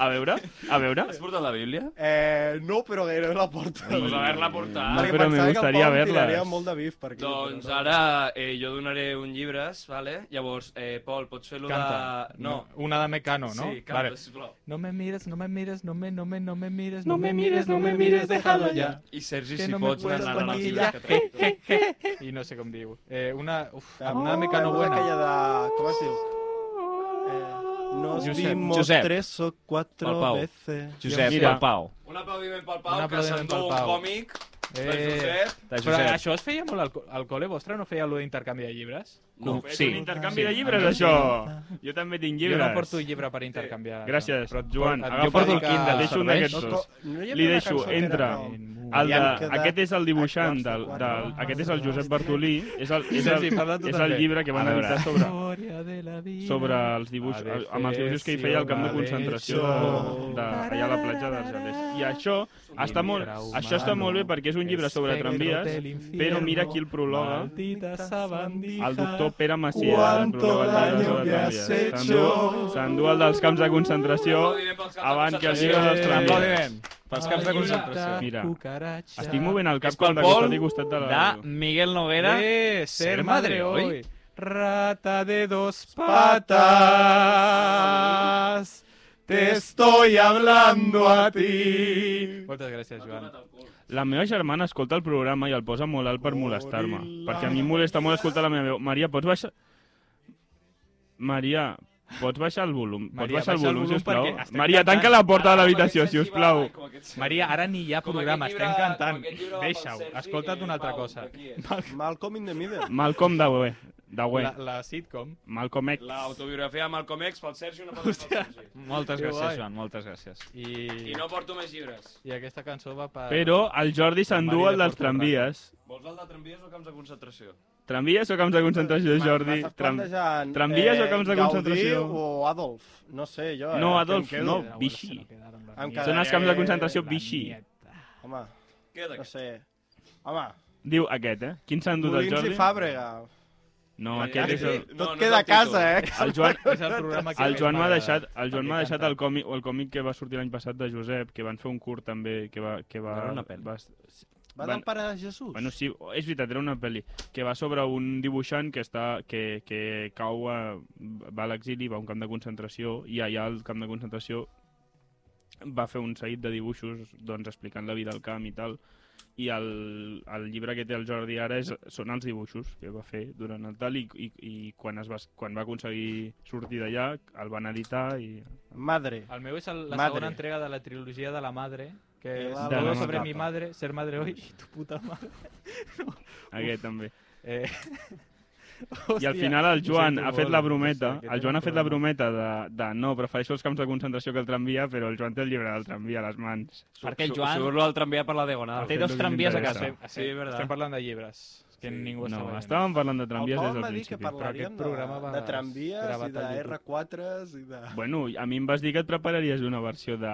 S3: A veure, a veure.
S4: Has portat la Bíblia?
S5: eh, no però gairebé la porto.
S4: Doncs haver-la
S3: Ah,
S4: portat.
S5: Perquè
S3: però
S5: pensava que el
S3: m'gustaria
S5: Pau em
S3: verles.
S5: tiraria molt de bif per aquí.
S4: Doncs
S5: però no.
S4: ara eh, jo donaré un llibres, vale? Llavors, eh, Pol, pots fer-lo de...
S6: Canta.
S4: No.
S6: Una de Mecano, no?
S4: Sí, canta,
S6: Vale.
S4: vale. sisplau.
S6: No me mires, no me mires, no me, no me, no me mires,
S7: No me mires, no me mires, déjalo ya.
S4: I Sergi,
S6: Que
S4: si
S6: no me
S4: pots,
S6: puedes
S4: les narratives
S6: maquillar.
S4: que trec.
S6: I no sé com diu. Eh, una... Uf,
S5: Ah,
S6: una de Mecano
S5: Mecano buena.
S6: buena.
S5: Aquella de... Com es diu? Eh, nos
S2: Josep.
S5: vimos
S2: Josep.
S5: tres o
S2: Pel
S5: cuatro
S2: Pau.
S5: veces.
S2: Josep,
S3: Mira.
S2: Mira. Pau.
S4: Un aplaudiment pel
S6: Un
S4: Pau, que
S6: aplaudiment
S4: s'endú
S6: pel
S4: un
S6: Pau.
S4: còmic. De
S6: Eh,
S4: Josep.
S2: De
S6: però
S2: Josep.
S6: això es feia molt al, co- al col·le vostre? No feia allò d'intercanvi de llibres?
S4: No.
S2: Sí.
S3: Un intercanvi de
S6: Sí.
S3: llibres, això. Jo també tinc llibres.
S6: Jo no porto llibre per intercanviar.
S3: Gràcies,
S6: Però et
S3: Joan.
S6: porto-
S3: Agafa
S6: jo porto el
S3: que-
S6: Kindle.
S3: deixo un
S6: serveix?
S3: d'aquests
S5: No,
S3: dos.
S5: co- no hi havia
S3: Li
S5: una
S3: deixo,
S5: cançó que era
S3: entra.
S5: com-
S3: El de,
S5: Ja hem quedat
S3: aquest és el dibuixant
S5: a
S3: del,
S5: quarts de
S3: del,
S5: quatre.
S3: aquest és el Josep Bartolí, és el, és el,
S6: Sí, sí, parla tu
S3: és el
S6: també.
S3: llibre que van
S2: A veure.
S3: editar sobre,
S6: Història de la vida.
S3: sobre els dibuixos,
S6: Adefesio,
S3: amb els dibuixos que hi feia al camp de concentració de, de, allà a la platja d'Argelers. I això està molt, això està molt bé perquè és un llibre sobre tramvies, però mira qui el prologa,
S6: Maldita sabandija.
S3: el doctor Pere Macià, el prologa el llibre sobre tramvies. S'endú- S'endú el dels camps de concentració
S4: Aplaudiment pels caps de
S3: abans que
S4: concentració.
S3: llibre dels tramvies.
S2: Aplaudiment. Pels caps de concentració.
S3: eh. Mira,
S6: Cucaracha.
S3: Estic movent el cap
S4: És pel
S3: contra que
S4: Pol
S3: està disgustat de la...
S2: De Miguel Noguera.
S6: De
S2: ser madre hoy.
S6: Rata de dos patas. Te estoy hablando a ti. Moltes gràcies, Joan.
S3: La meva germana escolta el programa i el posa molt alt per molestar-me. Perquè a mi em molesta molt escoltar la meva veu. Maria, pots baixar... Maria, pots baixar el volum?
S6: Maria,
S3: pots baixar el
S6: baixa el
S3: volum,
S6: volum
S3: sisplau?
S6: perquè estem
S3: Maria,
S6: cantant. Ah,
S3: tanca la porta de l'habitació, si us plau.
S6: Maria, ara ni hi ha programa, estem cantant. Deixa-ho, escolta't una altra cosa.
S5: Malcolm in the Middle.
S3: Malcolm Dawe. Dawe.
S6: La, la sitcom.
S3: Malcolm X.
S4: L'autobiografia de Malcolm X pel Sergi no pot pel Sergi.
S2: Moltes
S6: Que
S2: gràcies,
S6: guai.
S2: Joan, moltes gràcies.
S6: I,
S4: I no porto més llibres.
S6: I aquesta cançó va per...
S3: Però el Jordi s'endú
S6: Maria
S3: el dels
S6: porta un
S3: tramvies.
S4: Vols el de tramvies o camps de concentració?
S3: Tramvies o camps de concentració, Jordi?
S5: M'estàs
S3: Tram...
S5: plantejant, eh,
S3: tramvies o camps de
S5: Gaudí
S3: concentració?
S5: o Adolf? No sé, jo...
S3: No,
S5: eh,
S3: Adolf,
S5: que em
S3: no.
S5: quedo.
S3: Vichy.
S5: Em
S6: Són
S3: Són
S5: quedaria
S3: els camps de
S5: que-
S3: concentració Vichy.
S5: Home,
S4: Queda
S5: no sé. Home,
S3: Diu aquest, eh? Quin s'ha endut el
S5: Molins
S3: Jordi?
S5: i Fàbrega. Ah,
S3: No, aquest és el...
S5: Tot queda a casa, eh?
S3: El Joan,
S6: És el programa que
S3: El
S6: més
S3: Joan m'ha
S6: m'agrada,
S3: deixat, el Joan
S6: perquè
S3: m'ha deixat
S6: canta.
S3: el còmic, el còmic que va sortir l'any passat de Josep, que van fer un curt també, que va... Que va,
S2: Era una pel·li.
S3: va,
S5: Va
S3: Van-
S5: del Pare de Jesús.
S3: bueno, sí, és veritat, era una pel·li, que va sobre un dibuixant que, està, que, que cau, a, va a l'exili, va a un camp de concentració, i allà al camp de concentració va fer un seguit de dibuixos doncs, explicant la vida al camp i tal, i el, el llibre que té el Jordi ara és, són els dibuixos que va fer durant el tal i, i, i quan, es va, quan va aconseguir sortir d'allà el van editar i
S5: Madre.
S6: El meu és el, la
S5: Madre.
S6: segona entrega de la trilogia de la madre, que
S5: De
S6: és
S5: la
S6: Todo
S3: mamá
S6: sobre
S5: capa.
S6: mi madre, ser madre hoy i tu puta mare.
S3: aquest també.
S6: Eh...
S3: I al
S6: hòstia,
S3: final el
S6: ho
S3: Joan
S6: sento
S3: ha fet
S6: molt,
S3: la
S6: o
S3: brometa,
S6: sigui, que
S3: el
S6: té
S3: Joan
S6: un
S3: ha fet la
S6: problema.
S3: brometa de, de no, prefereixo els camps de concentració que el tramvia, però el Joan té el llibre del tramvia a les mans.
S2: Perquè el Joan
S4: Surt-lo al tramvia per la diagonal.
S2: té dos tramvies a casa.
S3: m'interessa.
S4: Sí, és verdad.
S6: Estem parlant de llibres, que ningú està
S3: No,
S6: veient.
S3: estàvem parlant de
S5: El
S3: tramvies
S5: Pau
S3: des
S5: em va
S3: del
S5: dir que
S3: principi.
S5: parlaríem
S6: aquest
S5: de,
S6: programa va
S5: de tramvies
S6: gravat
S5: i
S6: a
S5: de
S6: YouTube.
S5: R4s i de...
S3: Bueno, a mi em vas dir que et prepararies una versió de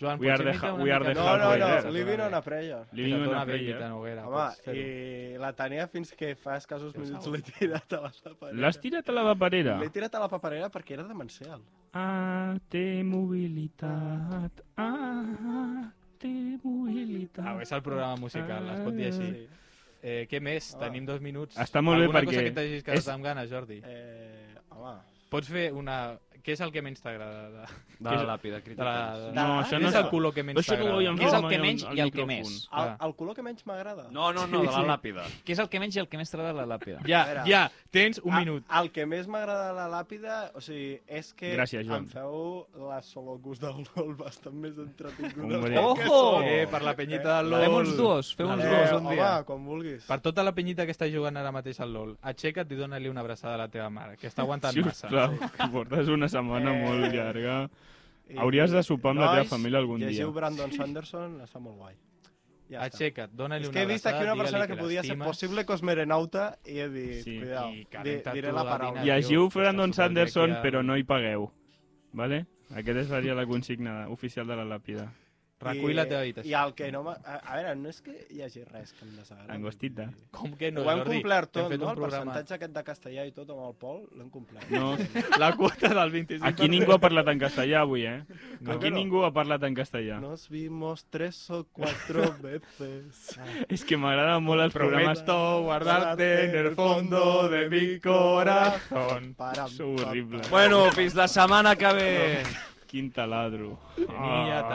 S6: Joan,
S3: We are
S6: potser
S3: the
S6: imita
S3: ha-
S6: una
S3: we are
S6: mica
S3: the
S5: No,
S6: més.
S5: no,
S3: Hardware,
S5: no,
S3: eh?
S5: Living on a Prayer.
S3: Living on a
S6: Fes-te
S3: Prayer.
S6: Vita Noguera,
S5: Home,
S6: pots fer-ho.
S5: i la tenia fins que fa escassos minuts l'he tirat a la paperera.
S3: L'has tirat a la vaparera?
S5: L'he tirat a la paperera perquè era demencial.
S3: Ah, té mobilitat. Ah, té mobilitat.
S6: Au, Ah, és el programa musical, es pot dir així.
S5: Sí.
S6: Eh, què més?
S5: Home.
S6: Tenim dos minuts.
S3: Està molt bé
S6: Alguna
S3: perquè
S6: cosa que t'hagis quedat
S3: és-
S6: amb ganes, Jordi?
S5: Eh, home,
S6: Pots fer una... Què és el que menys t'agrada? De...
S4: De la làpida,
S6: De la...
S4: crítiques.
S6: de-
S3: No, això no
S6: és
S3: és
S6: el color que menys
S3: Això no ho
S6: t'agrada.
S3: havíem
S2: Què és
S3: fet
S2: el que
S3: mai
S2: menys
S3: al-
S2: i
S3: al
S2: el que
S3: micròfon.
S2: més?
S5: El,
S6: clar.
S5: el color que menys m'agrada.
S4: No, no, no, de la làpida.
S2: Què és el que menys i el que més t'agrada de la làpida?
S6: Ja,
S5: A veure.
S6: ja, tens un
S5: A-
S6: minut.
S5: El que més m'agrada de la làpida, o sigui, és que
S3: Gràcies, Joan.
S5: em feu les solocus del LOL bastant més entretingudes.
S3: Hombre.
S5: del que
S6: Ojo!
S5: són.
S6: Eh, per la penyita del LOL.
S2: Fem uns duos, fem uns
S6: Eh,
S2: duos un
S5: home,
S2: dia.
S5: quan vulguis.
S6: Per tota la penyita que està jugant ara mateix al LOL, aixeca't i dóna-li una abraçada a la teva mare, que està aguantant
S3: Si us
S6: massa.
S3: plau, que portes una setmana
S5: Eh.
S3: molt llarga.
S5: I-
S3: Hauries de sopar amb la teva
S5: Nois,
S3: família algun dia.
S5: Llegiu Brandon Sanderson, està molt guai. Ja està.
S6: Aixeca't, dóna-li
S5: És
S6: una
S5: que he vist
S6: abraçada,
S5: aquí una
S6: digue-li
S5: persona que podia ser
S6: l'estimes.
S5: possible cosmerenauta i he dit,
S3: Sí,
S5: cuidao,
S6: i
S5: di,
S6: calenta
S5: diré
S6: tu
S5: la
S6: la
S5: paraula.
S6: dinar.
S3: Llegiu
S6: Diu,
S3: Brandon
S6: està
S3: Sanderson,
S6: superbé que-
S3: però no hi pagueu. Vale? Aquesta seria la consigna oficial de la làpida.
S6: Recull la teva
S5: I
S6: habitació.
S5: el que no... m'a- A, a veure, no és que hi hagi res que em desagrada.
S3: Angostita.
S6: Com que no,
S5: ho hem
S6: Jordi?
S5: complert
S6: Hem
S5: tot,
S6: fet
S5: no?
S6: un
S5: El
S6: programa.
S5: percentatge aquest de castellà i tot amb el Pol, l'hem complert.
S3: No.
S6: La quota del 25%.
S3: Aquí ningú ha parlat en castellà avui, eh?
S5: No.
S3: Aquí
S5: No.
S3: ningú ha parlat en castellà.
S5: Nos vimos tres o cuatro veces.
S3: És que m'agraden molt els programes...
S6: Prometo guardarte en el fondo de mi corazón.
S5: Para,
S3: És horrible.
S4: Bueno, fins la setmana que ve.
S3: Quin taladro.
S6: Tenía
S3: Ah.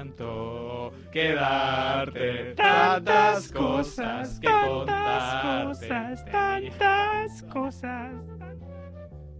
S6: tanto que darte,
S5: Tantas
S6: tantas cosas que
S7: tantas
S6: contarte.
S7: cosas,
S6: Tenía
S7: tantas cosas.